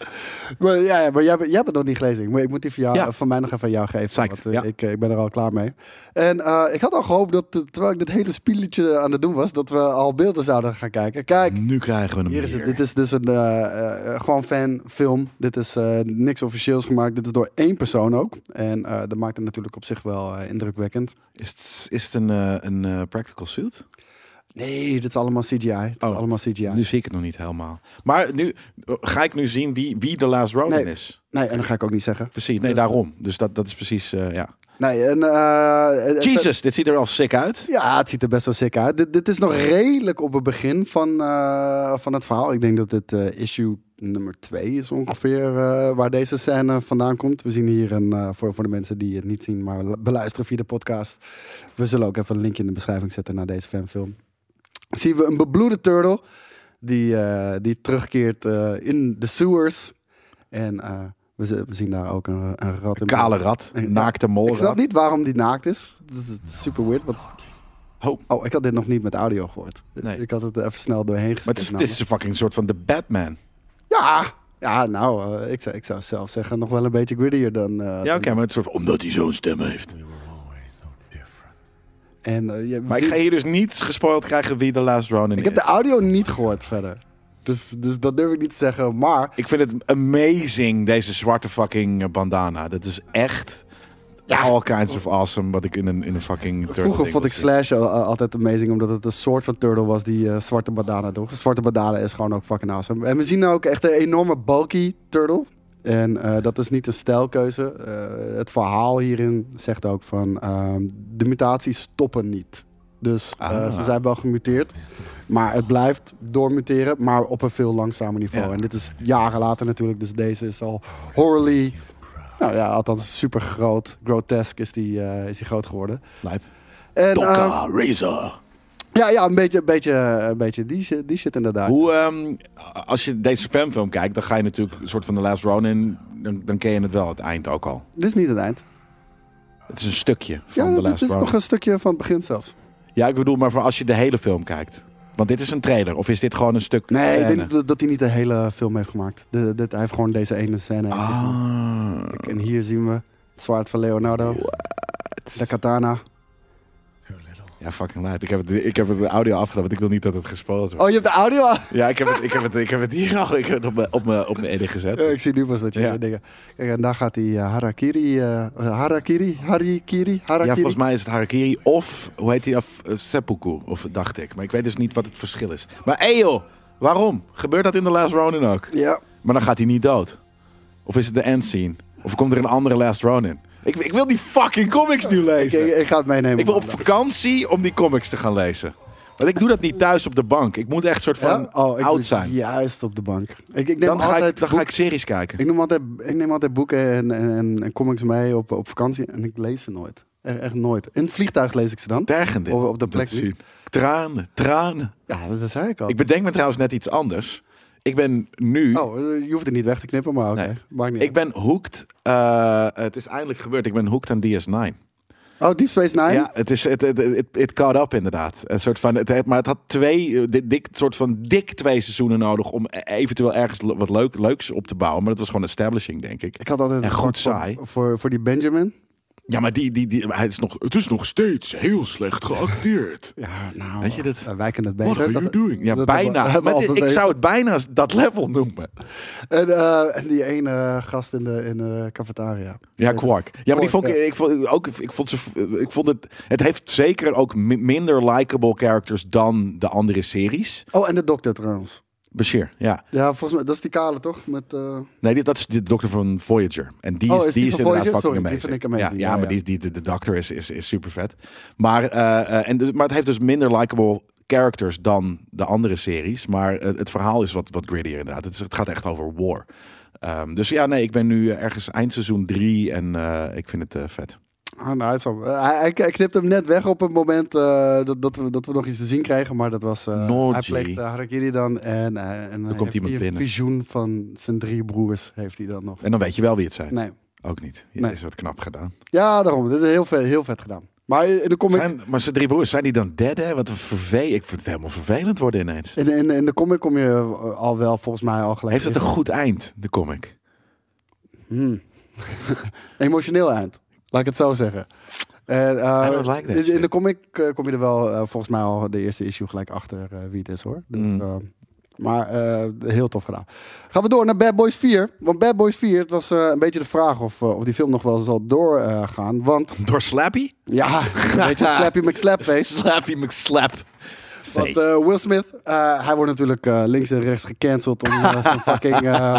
Maar, ja, ja, maar jij, hebt- jij hebt het nog niet gelezen. Ik moet, ik moet die van, jou, eh, Ja. van mij nog even aan jou geven. Psyched, want, eh, ja. ik, eh, ik ben er al klaar mee. En eh, ik had al gehoopt dat, eh, terwijl ik dit hele spieletje aan het doen was, dat we al beelden zouden gaan kijken. Kijk, Nu krijgen we hem hier is het. hier. Dit is dus een eh, eh, gewoon fanfilm. Dit is eh, niks officieels gemaakt. Dit is door één persoon ook. En eh, dat maakt het natuurlijk op zich wel eh, indrukwekkend. Is het, is het een, eh, een eh, practical suit? Nee, dit is allemaal CGI. Het Oh. is allemaal CGI. Nu zie ik het nog niet helemaal. Maar nu eh, ga ik nu zien wie, wie de Last Ronin Nee. is. Nee, en dat ga ik ook niet zeggen. Precies, nee, daarom. Dus dat, dat is precies, eh, ja. Nee, en... eh, het- het- Jesus, dit ziet er al sick uit. Ja, Ah, het ziet er best wel sick uit. Dit, dit is nog redelijk op het begin van, eh, van het verhaal. Ik denk dat dit eh, issue nummer 2 is ongeveer eh, waar deze scène vandaan komt. We zien hier een, eh, voor, voor de mensen die het niet zien, maar l- beluisteren via de podcast. We zullen ook even een linkje in de beschrijving zetten naar deze fanfilm. Zien we een bebloede turtle die, eh, die terugkeert eh, in de sewers. En eh, we, z- we zien daar ook een, een rat in. Kale rat, Ja. naakte Ik snap molrat. niet waarom die naakt is. Dat is super weird. Want... Oh. ik had dit nog niet met audio gehoord. Nee. Ik had het even snel doorheen Maar het geskipt. is, dit namelijk. is een fucking soort van de Batman. Ja, ja, nou, eh, ik, zou, ik zou zelf zeggen nog wel een beetje grittier dan... eh, Ja, oké, dan- maar het is een soort omdat hij zo'n stem heeft. En, eh, je- Maar ik ga hier dus niet gespoild krijgen wie de Last Ronin ik is. heb de audio niet gehoord verder. Dus, dus dat durf ik niet te zeggen. Maar Ik vind het amazing, deze zwarte fucking eh, bandana. Dat is echt all kinds of awesome wat ik in een, in een fucking turtle vroeger ding vond wil ik zien. Slash al- al- altijd amazing. Omdat het een soort van turtle was die eh, zwarte badana droeg. Zwarte badana is gewoon ook fucking awesome. En we zien nou ook echt een enorme bulky turtle. En eh, dat is niet een stijlkeuze. Eh, het verhaal hierin zegt ook van ehm, de mutaties stoppen niet. Dus eh, Ah. ze zijn wel gemuteerd. Maar het blijft doormuteren, maar op een veel langzamer niveau. Ja. En dit is jaren later natuurlijk. Dus deze is al horribly. Nou ja, althans super groot. Grotesk is die, eh, is die groot geworden. Lijp. En, eh, Tokka, Razor. ja, ja, een beetje, een beetje, een beetje die, zit- die zit inderdaad. Hoe, ehm, als je deze fanfilm kijkt, dan ga je natuurlijk een soort van The Last Ronin, dan, dan ken je het wel, het eind ook al. Dit is niet het eind. Het is een stukje van Ja, The dit Last is Ronin. nog een stukje van het begin zelfs. Ja, ik bedoel, maar voor als je de hele film kijkt. Want dit is een trailer, of is dit gewoon een stuk Nee, ik scène? denk dat, dat hij niet de hele film heeft gemaakt. De, dit- hij heeft gewoon deze ene scène. Ah. En hier zien we het zwaard van Leonardo. De katana. Ja, fucking lijp. Ik heb, het, ik heb het audio afgedaan, want ik wil niet dat het gespoeld wordt. Oh, je hebt de audio aan? Ja, ik heb het, ik heb het, ik heb het hier al. Ik heb het op mijn, op mijn, op mijn edit gezet. Ja, (laughs) ik zie nu pas dat je Ja. die dingen... Kijk, en daar gaat die eh, harakiri... eh, harakiri? Harikiri? Harakiri? Ja, volgens mij is het Harakiri of, hoe heet die, af, eh, Seppuku, of dacht ik. Maar ik weet dus niet wat het verschil is. Maar hé joh, waarom? Gebeurt dat in The Last Ronin ook? Ja. Maar dan gaat hij niet dood. Of is het de end scene? Of komt er een andere Last Ronin? Ik, ik wil die fucking comics nu Ik, lezen. ik, ik ga het meenemen. Ik wil op maandag. vakantie om die comics te gaan lezen. Want ik doe dat niet thuis op de bank. Ik moet echt soort van Ja? Oh, ik oud moet zijn. Juist op de bank. Ik, ik neem Dan, ga altijd ik, dan ga ik boek- series kijken. ik neem altijd, ik neem altijd boeken en, en, en comics mee op, op vakantie en ik lees ze nooit. Echt, echt nooit. In het vliegtuig lees ik ze dan. Tergende. Of op de plek niet. Tranen, tranen. Ja, dat zei ik al. Ik bedenk me trouwens net iets anders. Ik ben nu... Oh, eh, je hoeft het niet weg te knippen, maar oké. Nee. Maakt niet Ik ben hooked. eh, het is eindelijk gebeurd. Ik ben hooked aan DS9. uit. Oh, Deep Space Nine? Ja, het is het het het het caught up inderdaad. Een soort van het- het maar het had twee eh, dik, dik soort van dik twee seizoenen nodig om e- eventueel ergens le- wat leuk, leuks op te bouwen, maar dat was gewoon establishing denk ik. Ik had altijd En een goed zwak voor- saai. Voor, voor die Benjamin. Ja, maar die die, die hij is nog het is nog steeds heel slecht geacteerd. Ja, nou. Weet je dat- eh, Wij kunnen het What beter. are you Dat- doing? Ja, dat bijna. hebben we- Maar hebben we al dit- ik bewezen. zou het bijna dat level noemen. En, eh, en die ene eh, gast in de, in de cafetaria. Ja, Quark. Ja, maar die Quark, vond ik, ja. ik vond ook, ik vond ze, ik vond het, het heeft zeker ook mi- minder likable characters dan de andere series. Oh, en de dokter trouwens. Bashir, ja. Ja, volgens mij, dat is die kale toch? Met, eh, Nee, dit, dat is de dokter van Voyager. En die Oh, is, is die, die is inderdaad van Voyager? fucking Sorry, die amazing. vind ik amazing. Ja, ja, Ja, maar ja. Die, die, de, de dokter is, is, is super vet. Maar, eh, eh, en, dus- maar het heeft dus minder likable characters dan de andere series. Maar eh, het verhaal is wat, wat grittier inderdaad. Het, is- het gaat echt over war. Ehm, dus ja, nee, ik ben nu eh, ergens eindseizoen 3 en eh, ik vind het eh, vet. ah, nou, hij, is al- eh, hij, hij- hij knipt hem net weg op het moment eh, dat, dat, we, dat we nog iets te zien krijgen. Maar dat was... eh, Noji. hij pleegt eh, Harakiri dan. En, eh, en dan komt iemand binnen. een visioen van zijn drie broers heeft hij dan nog. En dan weet je wel wie het zijn. Nee. Ook niet. Ja, Nee. is wat knap gedaan. Ja, daarom. Dit is heel vet, heel vet gedaan. Maar in de comic... Zijn, maar zijn drie broers, zijn die dan dead, hè? Wat een verve... Ik vind het helemaal vervelend worden ineens. In, in, in de comic kom je eh, al wel volgens mij al gelijk. Heeft het een goed eind, de comic? Hmm. (laughs) Emotioneel eind. Laat ik het zo zeggen. En, eh, I don't like that in- in, shit. de comic eh, kom je er wel eh, volgens mij al de eerste issue gelijk achter eh, wie het is hoor. Dus, Mm. eh, maar eh, heel tof gedaan. Gaan we door naar Bad Boys 4. Want Bad Boys 4, het was eh, een beetje de vraag of, eh, of die film nog wel zal doorgaan. want Door Slappy? ja, (laughs) een beetje (laughs) Slappy McSlapface. Slappy McSlap. Want eh, Will Smith, eh, hij wordt natuurlijk eh, links en rechts gecanceld om (laughs) eh, zijn fucking eh,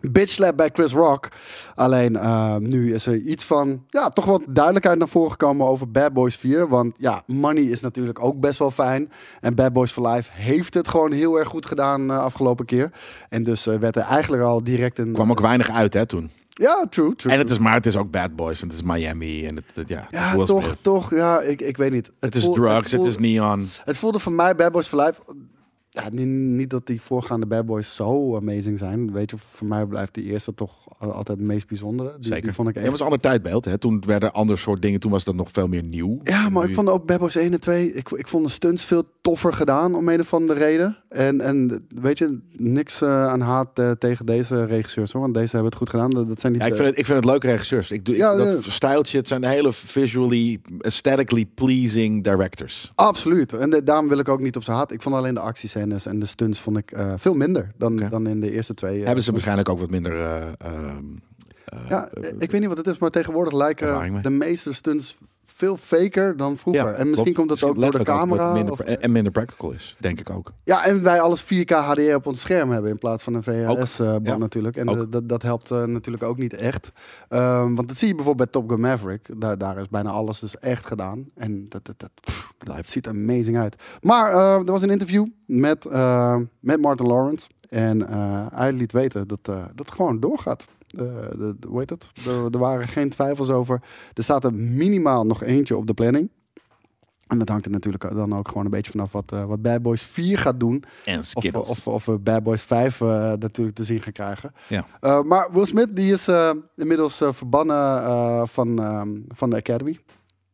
bitch slap bij Chris Rock. Alleen eh, nu is er iets van, ja, toch wat duidelijkheid naar voren gekomen over Bad Boys 4. Want ja, money is natuurlijk ook best wel fijn. En Bad Boys for Life heeft het gewoon heel erg goed gedaan eh, afgelopen keer. En dus eh, werd er eigenlijk al direct een... kwam ook weinig uit, hè, toen. Ja, true, true. En het is, maar het is ook Bad Boys en het is Miami en het, het- ja. ja, Will toch, Smith. toch. Ja, ik, ik weet niet. Het is voel- drugs, het voel- is neon. Het voelde voor mij Bad Boys for Life. Ja, niet, niet dat die voorgaande Bad Boys zo amazing zijn. Weet je, voor mij blijft die eerste toch al- altijd het meest bijzondere. Die, Zeker. die vond ik echt. Ja, Ja, het was een ander tijdbeeld, hè. Toen werden ander soort dingen, toen was dat nog veel meer nieuw. maar ik Nu- vond ook Bad Boys 1 en 2. Ik, ik vond de stunts veel toffer gedaan om een of andere reden. En, en weet je, niks eh, aan haat eh, tegen deze regisseurs hoor. Want deze hebben het goed gedaan. Dat, dat zijn eh, die. Ja, ik, vind het, ik vind het leuke regisseurs. Ik doe, ik- Ja, dat ja. stijltje, het zijn hele visually, aesthetically pleasing directors. Absoluut. En de- daarom wil ik ook niet op zijn haat. Ik vond alleen de actiescènes en de stunts vond ik eh, veel minder dan, Oké. dan in de eerste twee. eh, Hebben ze waarschijnlijk ook wat minder... eh, ehm, eh, Ja, eh, ik weet niet wat het is, maar tegenwoordig ervaring mee. lijken de meeste stunts veel faker dan vroeger. en misschien klopt. komt dat ook Misschien door de letterlijk omdat het camera. minder of- pra- en minder practical is, denk ik ook. ja, en wij alles 4K HD op ons scherm hebben in plaats van een VHS-band Ja, eh, natuurlijk. En ook. de- dat, dat helpt eh, natuurlijk ook niet echt. Ehm, want dat zie je bijvoorbeeld bij Top Gun Maverick. Daar, daar is bijna alles dus echt gedaan. En dat, dat, dat, pff, Lijp. dat ziet amazing uit. Maar eh, er was een interview met, eh, met Martin Lawrence. En eh, hij liet weten dat, eh, dat het gewoon doorgaat. Eh, de, de- hoe heet het? Er, er waren geen twijfels over. Er staat er minimaal nog eentje op de planning. En dat hangt er natuurlijk dan ook gewoon een beetje vanaf wat, eh, wat Bad Boys 4 gaat doen. En Of, Skittles. of, of we Bad Boys 5 eh, natuurlijk te zien gaan krijgen. ja. Eh, maar Will Smith die is eh, inmiddels eh, verbannen eh, van, ehm, van de Academy.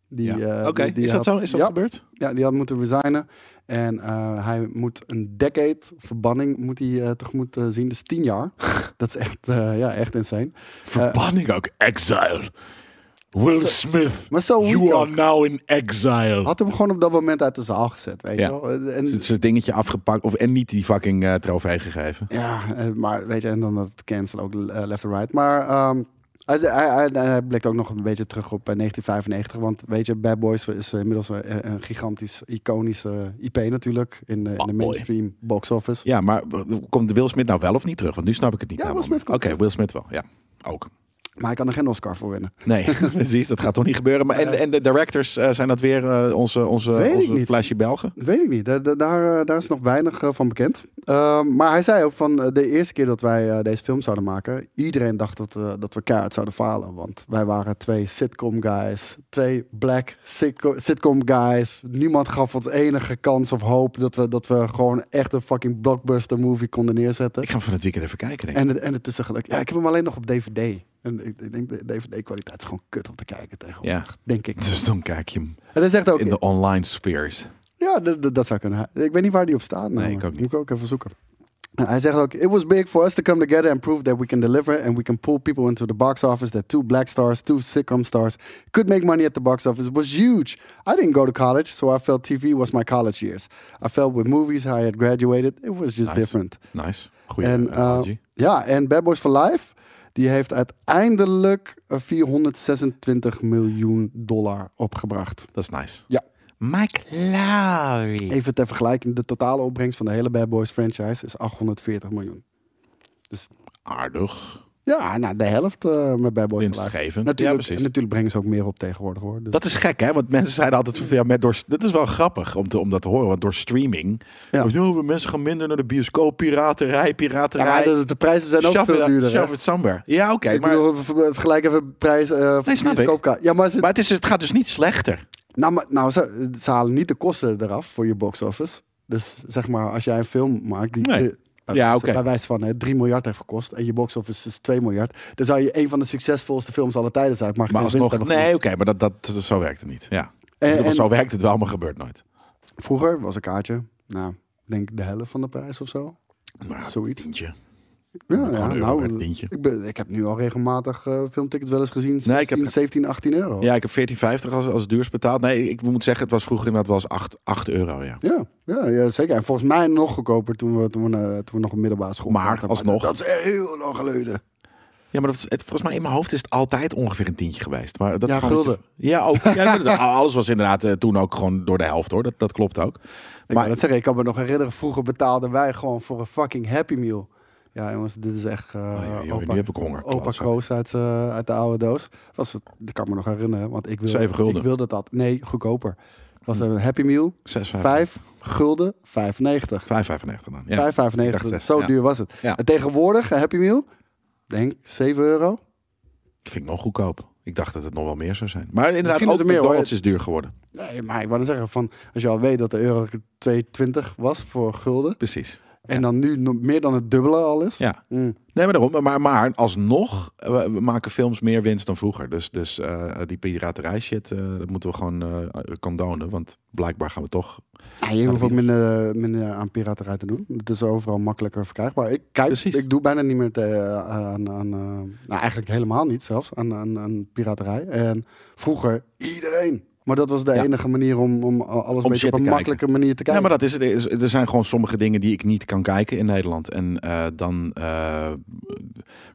Die, Ja. eh, Oké, die- die is dat had- zo? Is dat ja, gebeurd? Ja, die had moeten resignen. En eh, hij moet een decade verbanning moet hij, eh, tegemoet eh, zien. Dus tien (laughs) jaar. dat is echt, eh, ja, echt insane. Verbanning ook. Exile. Will Eh, Zo- Smith. Maar zo you weak are ook. now in exile. Had hem gewoon op dat moment uit de zaal gezet, weet Ja. Dus je wel. En, Het is een dingetje afgepakt. Of, en niet die fucking eh, trofee gegeven. Ja, eh, maar weet je, en dan dat cancel ook eh, left and right. Maar ehm, hij, zei- hij, hij, hij blikt ook nog een beetje terug op eh, 1995. Want weet je, Bad Boys is eh, inmiddels een, een- een gigantisch, iconische IP natuurlijk. In, de- in Bad de Boy. mainstream box office. Ja, maar komt Will Smith nou wel of niet terug? Want nu snap ik het niet. Ja, helemaal Will Smith meer. komt Oké, Will Smith wel. Ja, ook. Maar hij kan er geen Oscar voor winnen. Nee, (laughs) precies. Dat gaat toch niet gebeuren. Maar en, en de directors, eh, zijn dat weer eh, onze, onze, Weet ik onze niet. flesje Belgen? Dat weet ik niet. Daar, daar- daar, eh, daar is nog weinig eh, van bekend. Ehm, maar hij zei ook van eh, de eerste keer dat wij eh, deze film zouden maken, iedereen dacht dat we, dat we keihard zouden falen. Want wij waren twee sitcom guys, twee black sitco- sitcom guys. Niemand gaf ons enige kans of hoop dat we, dat we gewoon echt een fucking blockbuster movie konden neerzetten. Ik ga hem van het weekend even kijken, denk ik. En het, en het is er gelukt. Ja, ik heb hem alleen nog op DVD. En ik, ik denk de DVD-kwaliteit is gewoon kut om te kijken tegenwoordig, Ja. denk ik. Dus dan kijk je hem En hij zegt ook, in de online spheres. Ja, d- d- dat zou kunnen. Ik weet niet waar die op staat. namelijk. ik ook niet. Moet ik ook even zoeken. En hij zegt ook: It was big for us to come together and prove that we can deliver and we can pull people into the box office. That two black stars, two sitcom stars could make money at the box office was huge. I didn't go to college, so I felt TV was my college years. I felt with movies how I had graduated, it was just Nice. different. Nice. Goeie En, eh, analogie. ja, en Bad Boys for Life, die heeft uiteindelijk eh, 426 miljoen dollar opgebracht. Dat is nice. Ja. Mike Lowry. Even ter vergelijking, de totale opbrengst van de hele Bad Boys franchise is 840 miljoen. Aardig. Ja, nou, de helft eh, met Bad Boys. Winstgevend. Live. Ja, Natuurlijk, precies. en natuurlijk brengen ze ook meer op tegenwoordig hoor. Dus- Dat is gek, hè? Want mensen zeiden altijd van, ja, met door, dat is wel grappig om, te, om dat te horen. Want door streaming, Ja. Dus, oh, mensen gaan minder naar de bioscoop, piraterij, ja, maar piraterij. de, de prijzen zijn ook Shove veel it- duurder. hè? shove it somewhere. Ja, oké. Ik maar, bedoel, ver- vergelijk even de prijs eh, van Nee, snap de bioscoopkaart. Ja, maar, ze, maar het, is, het gaat dus niet slechter. nou, maar- nou, ze, ze halen niet de kosten eraf voor je box office. Dus zeg maar, als jij een film maakt die Nee. de- bij Ja, wijze- oké. bij wijze van hè, 3 miljard heeft gekost en je box office is 2 miljard, dan zou je een van de succesvolste films aller tijden zijn. Maar, Maar geen winst alsnog, hebben nee, oké, maar dat, dat, zo werkt het niet. Ja. En- Ik bedoel, en- zo werkt het wel, maar gebeurt nooit. Vroeger was een kaartje, nou, ik denk de helft van de prijs of zo. Maar Zoiets. tientje. Ja, nou, Gewoon een euro bij het tientje. ik, ben, ik heb nu al regelmatig eh, filmtickets wel eens gezien. 16, Nee, ik heb- 17, 18 euro. Ja, ik heb 14,50 als, als duurst betaald. Nee, ik moet zeggen, het was vroeger inderdaad wel eens 8, 8 euro, ja. Ja, ja, ja, zeker. En volgens mij nog goedkoper toen we, toen we, eh, toen we nog een middelbare school Maar zaten. alsnog. Dat is echt heel lang geleden. Ja, maar dat, is- het, volgens mij in mijn hoofd is het altijd ongeveer een tientje geweest. Maar dat Ja, is gewoon wat je- Ja, (laughs) ook. Ja, inderdaad. alles was inderdaad eh, toen ook gewoon door de helft, hoor. Dat, dat klopt ook. Ik, maar, dat zeg, ik kan me nog herinneren, vroeger betaalden wij gewoon voor een fucking Happy Meal. Ja jongens, dit is echt eh Oh, joh, joh, opa, nu heb ik honger, opa klootzak. Kroos uit, eh, uit de oude doos. Was het, ik kan me nog herinneren, want ik wilde, Zeven gulden. Hm. ik wilde dat. Nee, goedkoper. Was een Happy Meal, Zes, vijf- 5 gulden, 95. 5,95 dan. Ja. 5,95. Ik dacht Zo zes, ja. duur was het. Ja. En tegenwoordig, eh, een Happy Meal, denk 7 euro. Dat vind ik nog goedkoop. Ik dacht dat het nog wel meer zou zijn. Maar inderdaad, Misschien is ook het meer, hoor. McDonald's is duur geworden. Nee, maar ik wou dan zeggen, van, als je al weet dat de euro 2,20 was voor gulden. Precies. En dan nu nog meer dan het dubbele al is. Ja. Mm. Nee, maar daarom. Maar, maar alsnog, eh, we we maken films meer winst dan vroeger. Dus, dus eh, die piraterij shit, eh, dat moeten we gewoon eh condonen. Want blijkbaar gaan we toch... Ja, je hoeft ook minder, minder aan piraterij te doen. Het is overal makkelijker verkrijgbaar. Ik kijk, Precies. ik doe bijna niet meer te, eh, aan, aan eh, nou eigenlijk helemaal niet zelfs, aan, aan, aan piraterij. En vroeger iedereen. Maar dat was de Ja. enige manier om, om alles een beetje shit op te een kijken. makkelijke manier te Ja, kijken. maar dat is het. Is- Er zijn gewoon sommige dingen die ik niet kan kijken in Nederland. En eh, dan eh,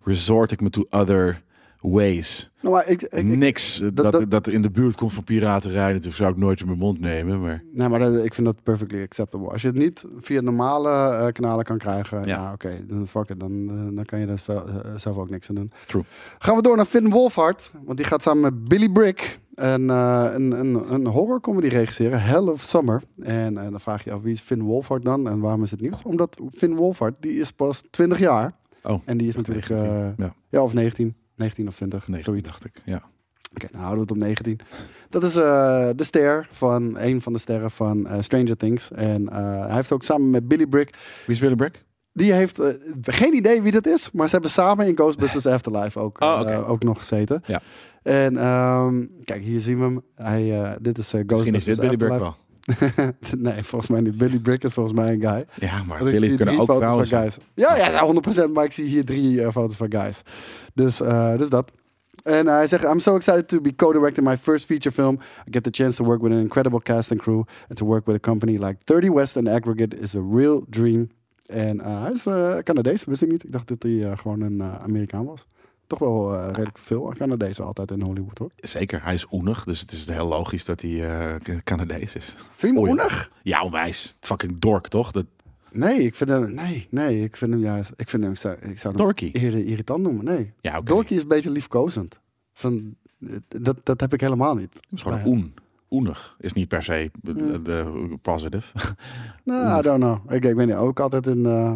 resort ik me to other ways. Nou, maar ik, ik, Niks eh, dat, dat, dat- in de buurt komt van piraterij. Dat zou ik nooit in mijn mond nemen. Maar Nee, maar dat- ik vind dat perfectly acceptable. Als je het niet via normale eh, kanalen kan krijgen, ja, oké, dan fuck it. Dan, eh, dan kan je daar vel- eh, zelf ook niks aan doen. True. Gaan we door naar Finn Wolfhard, want die gaat samen met Billy Brick een, eh, een, een, een horrorcomedy regisseren, Hell of Summer. En eh, dan vraag je je af, wie is Finn Wolfhard dan en waarom is het nieuws? Omdat Finn Wolfhard, die is pas 20 jaar. Oh, en die is natuurlijk, 19, eh, ja. ja. of 19, 19 of 20, nee, zoiets. dacht ik. Ja. Oké, nou houden we het op 19. Dat is eh, de ster van een van de sterren van eh, Stranger Things. En eh, hij heeft ook samen met Billy Brick Wie is Willy Brick? Die heeft eh, geen idee wie dat is, maar ze hebben samen in Ghostbusters Afterlife ook, Oh, oké. eh, ook nog gezeten. Ja. En ehm, kijk, hier zien we hem. Hij, eh, dit is eh, Misschien is Ghostbusters dit Billy Brick wel. Afterlife. (laughs) nee, volgens mij niet. Billy Brick is volgens mij een guy. Ja, maar Want ik Billy zie kunnen drie ook foto's vrouwen van zijn. guys. Ja, ja, ja, 100%. Maar ik zie hier drie eh, foto's van guys. Dus, eh, dus dat. En hij zegt, I'm so excited to be co-directing my first feature film. I get the chance to work with an incredible cast and crew. And to work with a company like 30 West and Aggregate is a real dream. En eh, hij is eh, Canadees, wist ik niet. Ik dacht dat hij eh, gewoon een eh, Amerikaan was. Toch wel Ah. eh, redelijk veel Canadezen altijd in Hollywood, hoor. Zeker, hij is oenig, dus het is heel logisch dat hij eh, Canadees is. Vind je hem Oei. oenig? Ja, onwijs. Fucking dork, toch? Dat, Nee, ik vind hem... Nee, nee, ik vind hem juist... Ik vind hem... Ik zou, ik zou hem dorky. eerder irritant noemen, nee. Ja, oké. Dorky is een beetje liefkozend. Van, eh, dat, dat heb ik helemaal niet. Het is gewoon Ja. oen. Oenig is niet per se eh, de positive. (laughs) Nou, I don't know. Ik, ik weet niet, ook altijd in, eh,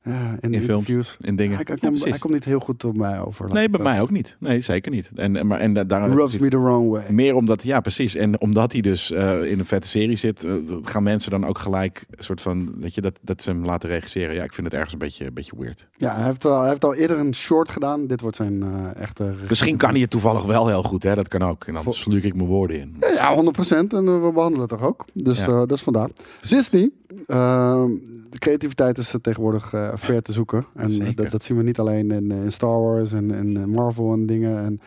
eh, in, In films. interviews. In dingen. Hij, hij, Ja, komt- precies. hij komt niet heel goed op mij over. laat Nee, ik bij dat mij ook niet. Nee, zeker niet. En, en- maar, en da- daar, zeggen. Rubs me the wrong way. Meer omdat, ja precies. En omdat hij dus eh, in een vette serie zit, eh, dat gaan mensen dan ook gelijk een soort van, weet je, dat, dat ze hem laten regisseren. Ja, ik vind het ergens een beetje, een beetje weird. Ja, hij heeft, al, hij heeft al eerder een short gedaan. Dit wordt zijn eh, echte... Misschien kan hij het toevallig wel heel goed, hè? Dat kan ook. En dan Vol- sluik ik mijn woorden in. Ja, 100%. En eh, we behandelen het toch ook. Dus Ja. eh, dat is vandaar. Disney. ehm, de creativiteit is eh, tegenwoordig eh, ver te zoeken. En eh, Zeker. dat, dat zien we niet alleen in, eh, in Star Wars en, en eh, Marvel en dingen. En,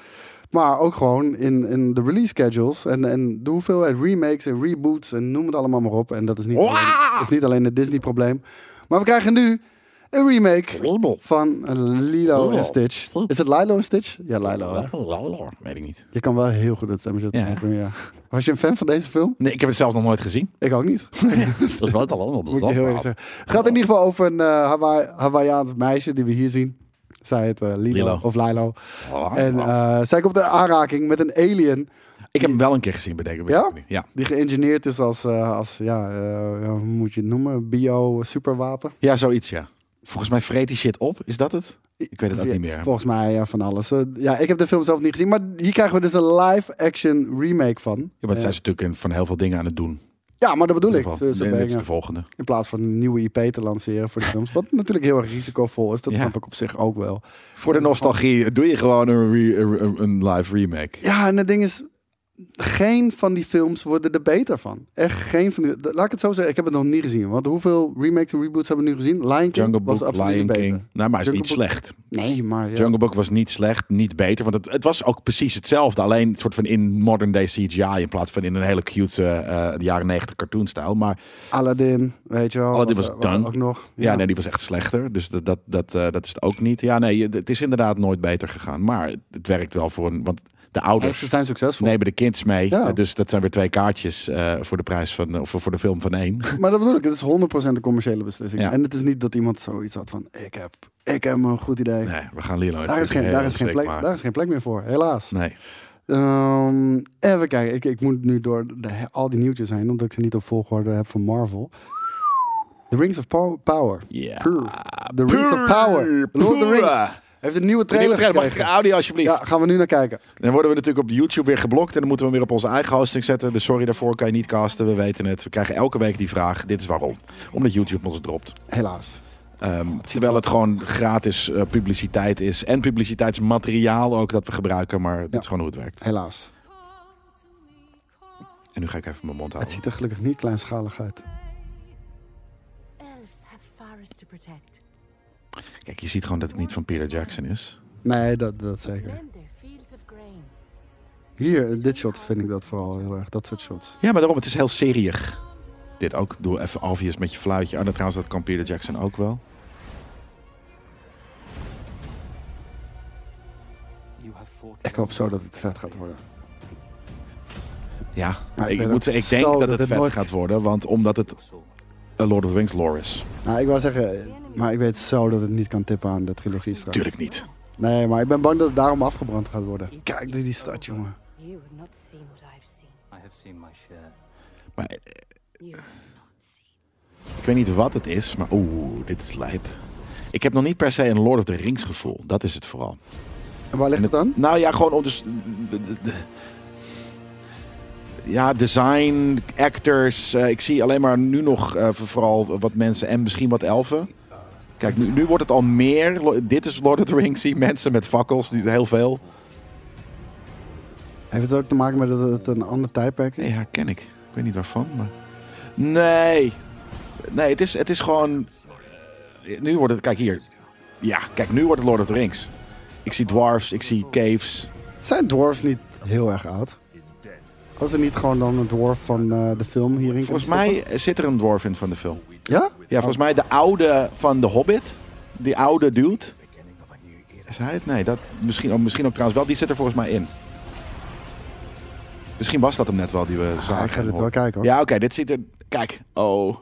maar ook gewoon in, in de release schedules. En, en de hoeveelheid remakes en reboots en noem het allemaal maar op. En dat is niet, alleen, is niet alleen het Disney probleem. Maar we krijgen nu een remake van eh, Lilo en Stitch. Is het Lilo en Stitch? Ja, Lilo. hè? Weet ik niet. Je kan wel heel goed dat stemmetje Ja. doen, ja. Was je een fan van deze film? Nee, ik heb het zelf nog nooit gezien. Ik ook (laughs) niet. (laughs) Dat is wel het al Moet ik je heel eerlijk zeggen. Het gaat in ieder geval over een eh, Hawaii, Hawaiiaans meisje die we hier zien. Zij het eh, Lilo, Lilo. Ah, of Lilo. En eh, zij komt in aanraking met een alien Ik heb hem wel een keer gezien, bedenk ik. Ja? nu. Ja. die geïngineerd is als, eh, als ja, eh, ja, hoe moet je het noemen? Bio-superwapen. ja, zoiets, ja. Volgens mij vreet die shit op. Is dat het? Ik weet het ook Ja, niet meer. Volgens mij ja, van alles. Eh, ja, ik heb de film zelf niet gezien, maar hier krijgen we dus een live-action remake van. Ja, eh, maar het Eh, zijn ze natuurlijk in- van heel veel dingen aan het doen. ja, maar dat bedoel In ik. ieder Ze- geval. ze En dit is brengen- de volgende. In plaats van een nieuwe IP te lanceren voor de films. Wat natuurlijk heel erg risicovol is. Dat Ja. snap ik op zich ook wel. Voor de nostalgie doe je gewoon een, re- een- een live remake. Ja, en het ding is, geen van die films worden er beter van. Echt geen van die. Laat ik het zo zeggen, ik heb het nog niet gezien. Want hoeveel remakes en reboots hebben we nu gezien? Lion King Jungle was Book, absoluut Lion niet King. beter. Nou, maar hij is Jungle niet Book- slecht. Nee, maar ja. Jungle Book was niet slecht, niet beter. Want het, het was ook precies hetzelfde. Alleen een soort van in modern day CGI. In plaats van in een hele cute eh, eh, jaren 90 cartoonstijl. Maar Aladdin, weet je wel. Aladdin was er- er done. ook nog. ja, nee, die was echt slechter. Dus dat, dat, dat, eh, dat is het ook niet. Ja, nee, je- het is inderdaad nooit beter gegaan. Maar het, het werkt wel voor een. Want de Echt, ouders ze zijn succesvol. nemen de kids mee. Ja. Eh, Dus dat zijn weer twee kaartjes eh, voor de prijs van. of voor, voor de film van één. Maar dat bedoel ik, het is 100% een commerciële beslissing. Ja. En het is niet dat iemand zoiets had van, ik heb, ik heb een goed idee. Nee, we gaan Lilo. Daar is, geen, daar, is geen plek, maar- daar is geen plek meer voor, helaas. Nee. Ehm, even kijken, ik, ik moet nu door de, he- al die nieuwtjes heen, omdat ik ze niet op volgorde heb van Marvel. The Rings of Pow- Power. Ja. Puur. The Rings of Power. The Lord of the Rings. Heeft een nieuwe trailer Trailer, mag ik gekregen. audio alsjeblieft? Ja, gaan we nu naar kijken. Dan worden we natuurlijk op YouTube weer geblokt. En dan moeten we hem weer op onze eigen hosting zetten. Dus sorry daarvoor, kan je niet casten. We weten het. We krijgen elke week die vraag. Dit is waarom. Omdat YouTube ons dropt. Helaas. Ehm, terwijl het gewoon gratis eh, publiciteit is. En publiciteitsmateriaal ook dat we gebruiken. Maar dat Ja. is gewoon hoe het werkt. Helaas. En nu ga ik even mijn mond Het houden. ziet er gelukkig niet kleinschalig uit. Elves have forests to protect. Kijk, je ziet gewoon dat het niet van Peter Jackson is. Nee, dat, dat zeker. Men their fields of grain. Hier, in dit shot vind ik dat vooral heel erg. Dat soort shots. Ja, maar daarom. Het is heel serieus. Dit ook. Doe even obvious met je fluitje. Oh, dat trouwens, dat kan Peter Jackson ook wel. Ik hoop zo dat het vet gaat worden. Ja, Maar ik ik, ben moet, ook zeggen, ik denk zo dat dat het het vet nooit- gaat worden, want omdat het A Lord of the Rings lore is. Nou, ik wou zeggen, maar ik weet zo dat het niet kan tippen aan de trilogie straks. Tuurlijk niet. Nee, maar ik ben bang dat het daarom afgebrand gaat worden. Kijk die, die stad, jongen. You have not seen what I've seen. I have seen my share. Maar eh, You have not seen. ik weet niet wat het is, maar oeh, dit is lijp. Ik heb nog niet per se een Lord of the Rings gevoel. Dat is het vooral. En waar ligt het dan? Nou ja, gewoon om dus. Ja, design, actors. eh, ik zie alleen maar nu nog eh, vooral wat mensen en misschien wat elfen. Kijk, nu, nu wordt het al meer. Lo- Dit is Lord of the Rings. Zie mensen met fakkels, die- heel veel. Heeft het ook te maken met dat het een ander tijdperk is? Nee, herken ik. Ik weet niet waarvan, maar... Nee. Nee, het is, het is gewoon... eh, Nu wordt het... Kijk hier. Ja, kijk, nu wordt het Lord of the Rings. Ik zie dwarfs, ik zie caves. Zijn dwarfs niet heel erg oud? Had er niet gewoon dan een dwarf van eh, de film hierin Volgens kunnen mij eh, zit er een dwarf in van de film. stoppen? Ja? Ja, volgens mij de oude van The Hobbit. Die oude dude. Is hij het? Nee, dat, misschien, oh, misschien ook trouwens wel. Die zit er volgens mij in. Misschien was dat hem net wel die we zagen. Ah, ik ga en dit wel hoorden. kijken, hoor. Ja, oké, dit zit er... Kijk, oh.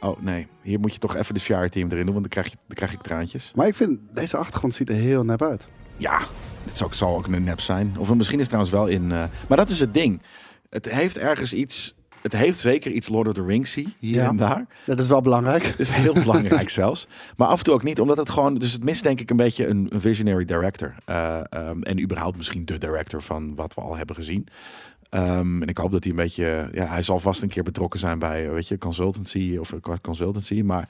Oh, nee. Hier moet je toch even de VR team erin doen, want dan krijg, je, dan krijg ik traantjes. Maar ik vind, deze achtergrond ziet er heel nep uit. Ja, dit zou, zal ook een nep zijn. Of misschien is het trouwens wel in... eh, maar dat is het ding. Het heeft ergens iets... Het heeft zeker iets Lord of the Rings hier Ja. en daar. Dat is wel belangrijk. Dat is heel belangrijk zelfs. Maar af en toe ook niet, omdat het gewoon... Dus het mist denk ik een beetje een een visionary director. Eh, ehm, en überhaupt misschien de director van wat we al hebben gezien. Ehm, en ik hoop dat hij een beetje... Ja, hij zal vast een keer betrokken zijn bij, eh, weet je, consultancy of eh, consultancy. Maar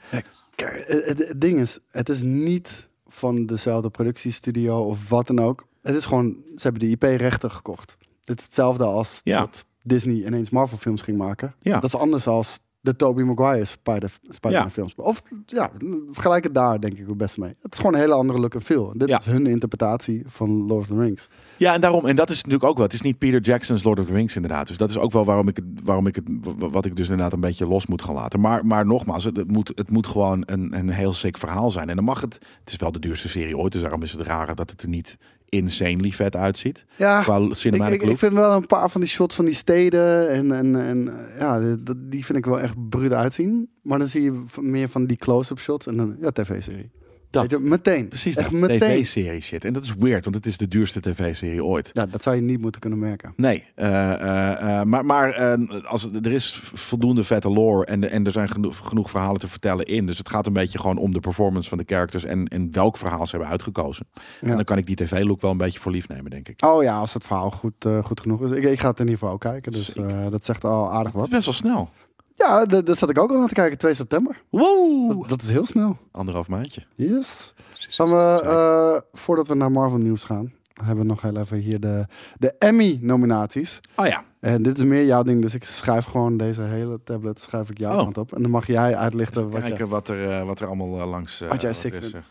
Kijk, het, het- het ding is, het is niet van dezelfde productiestudio of wat dan ook. Het is gewoon, ze hebben de IP-rechten gekocht. Het is hetzelfde als Ja. dat Disney ineens Marvel-films ging maken. Ja. Dat is anders als de Tobey Maguire Spider- Spider-Man-films. Of ja, vergelijk het daar denk ik het best mee. Het is gewoon een hele andere look en feel. Dit Ja. is hun interpretatie van Lord of the Rings. ja, en daarom... En dat is natuurlijk ook wel... Het is niet Peter Jackson's Lord of the Rings inderdaad. Dus dat is ook wel waarom ik het... Waarom ik het wa- wat ik dus inderdaad een beetje los moet gaan laten. Maar, maar nogmaals, het, het moet, het moet gewoon een, een heel sick verhaal zijn. En dan mag het... Het is wel de duurste serie ooit, dus daarom is het raar dat het er niet insanely vet uitziet. Ja, qua Ah, ik, cinematic ik, ik look. vind wel een paar van die shots van die steden en, en, en eh, ja, d- d- die vind ik wel echt bruut uitzien. Maar dan zie je v- meer van die close-up shots en dan, ja, tv-serie. Dat. Weet je, meteen. Precies, echt dat meteen. tv-serie shit. En dat is weird, want het is de duurste tv-serie ooit. Ja, dat zou je niet moeten kunnen merken. Nee, eh, eh, eh, maar, maar eh, als, er is voldoende vette lore en, de- en er zijn genoeg, genoeg verhalen te vertellen in. Dus het gaat een beetje gewoon om de performance van de characters en, en welk verhaal ze hebben uitgekozen. En Ja. dan kan ik die tv-look wel een beetje voor lief nemen, denk ik. Oh ja, als het verhaal goed, eh, goed genoeg is. Ik, ik ga het in ieder geval ook kijken, dus Zeker. eh, dat zegt al aardig Het is wat. best wel snel. Ja, d- daar zat ik ook al aan te kijken, 2 september. Wow! Dat, dat is heel snel. Anderhalf maandje. Yes. Dan we, eh, voordat we naar Marvel nieuws gaan, hebben we nog heel even hier de, de Emmy-nominaties. Oh ja. En dit is meer jouw ding, dus ik schrijf gewoon deze hele tablet schrijf ik jouw Oh. kant op. En dan mag jij uitlichten wat kijken je... wat, er, eh, wat er allemaal eh, langs eh, Wat jij sick er is, vindt.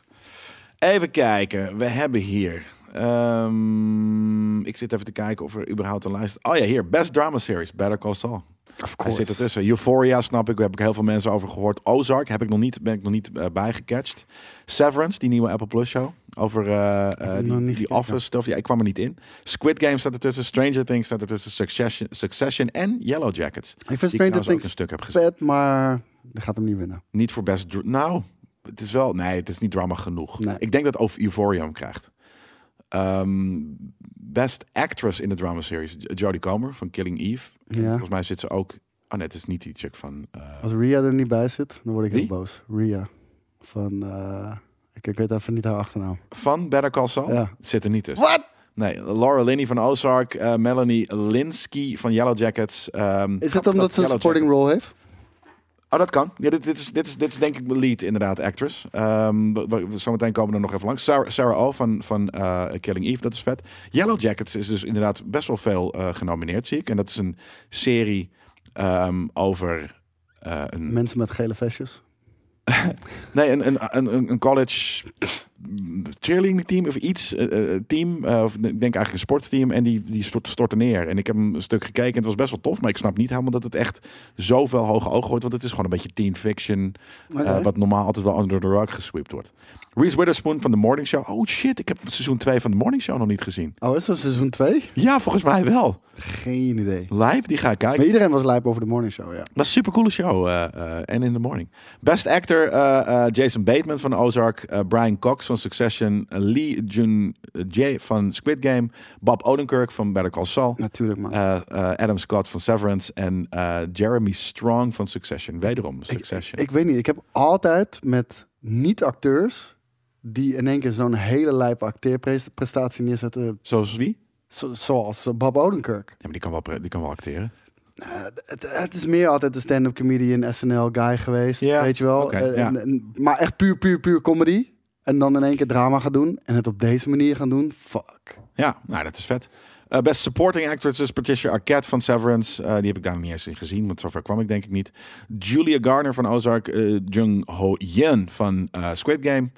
eh. Even kijken. We hebben hier... ehm, ik zit even te kijken of er überhaupt een lijst... Oh ja, hier. Best Drama Series. Better Call Saul. Of Hij zit ertussen. Euphoria snap ik. Daar heb ik heel veel mensen over gehoord. Ozark heb ik nog niet, ben ik nog niet eh, bijgecatcht. Severance, die nieuwe Apple Plus show. Over eh, eh, nog niet die, die gekeken. Office stuff. Ja, ik kwam er niet in. Squid Game staat ertussen. Stranger Things staat ertussen. Succession, Succession en Yellow Jackets. Ik vind Die Stranger trouwens ook Things een stuk heb gezien. vet, maar dat gaat hem niet winnen. Niet voor best. dra- Nou, het is wel. Nee, het is niet drama genoeg. Nee. Ik denk dat over Euphoria hem krijgt. Ehm, best actress in de drama series. J- Jodie Comer van Killing Eve. Ja. Volgens mij zit ze ook. Oh nee, het is niet die chick van. eh, Als Ria er niet bij zit, dan word ik heel Wie? boos. Ria. Van, eh, ik, ik weet even niet haar achternaam. van Better Call Saul. Ja. Zit er niet tussen. Wat? Nee, Laura Linney van Ozark. eh, Melanie Linsky van Yellow Jackets. ehm, Is het grappig omdat ze een Yellow supporting Jackets- role heeft? Oh, dat kan. Ja, dit, dit, is, dit, is, dit is denk ik de lead, inderdaad, actress. Ehm, we- we- zometeen komen we er nog even langs. Sarah, Sarah Oh van, van eh, Killing Eve, dat is vet. Yellow Jackets is dus inderdaad best wel veel eh, genomineerd, zie ik. En dat is een serie ehm, over eh, een, Mensen met gele vestjes. nee, een, een, een, een- een college cheerleading team of iets. eh, eh, team, eh, of ik denk eigenlijk een sportsteam. En die, die stort, storten neer. En ik heb hem een stuk gekeken. en Het was best wel tof. Maar ik snap niet helemaal dat het echt zoveel hoge ogen wordt. Want het is gewoon een beetje teen fiction. eh, Oké. wat normaal altijd wel under the rug gesweept wordt. Reese Witherspoon van The Morning Show. Oh shit, ik heb seizoen 2 van The Morning Show nog niet gezien. Oh, is dat seizoen 2? Ja, volgens mij wel. Geen idee. Lijp, die ga ik kijken. Maar iedereen was lijp over de morning show, ja. Dat is een supercoole show. eh, eh, En in the morning. Best actor eh, eh, Jason Bateman van Ozark. eh, Brian Cox van Succession. eh, Lee Jun Jae van Squid Game. Bob Odenkirk van Better Call Saul. Natuurlijk, man. eh, eh, Adam Scott van Severance. En eh, Jeremy Strong van Succession. Wederom Succession. Ik weet niet, ik heb altijd met niet-acteurs die in één keer zo'n hele lijpe acteerprestatie neerzetten. Zoals wie? zo- zoals eh, Bob Odenkirk. Ja, maar die kan wel, pre- die kan wel acteren. Het, het is meer altijd de stand-up comedian, SNL guy geweest. Ja, Weet je wel. oké, Eh, ja. en- en- maar echt puur, puur, puur comedy. En dan in één keer drama gaan doen. En het op deze manier gaan doen. Fuck. Ja, nou, dat is vet. Eh, best supporting actress is Patricia Arquette van Severance. Eh, die heb ik daar nog niet eens in gezien, want zover kwam ik denk ik niet. Julia Garner van Ozark. eh, Jung Ho Yen van eh, Squid Game.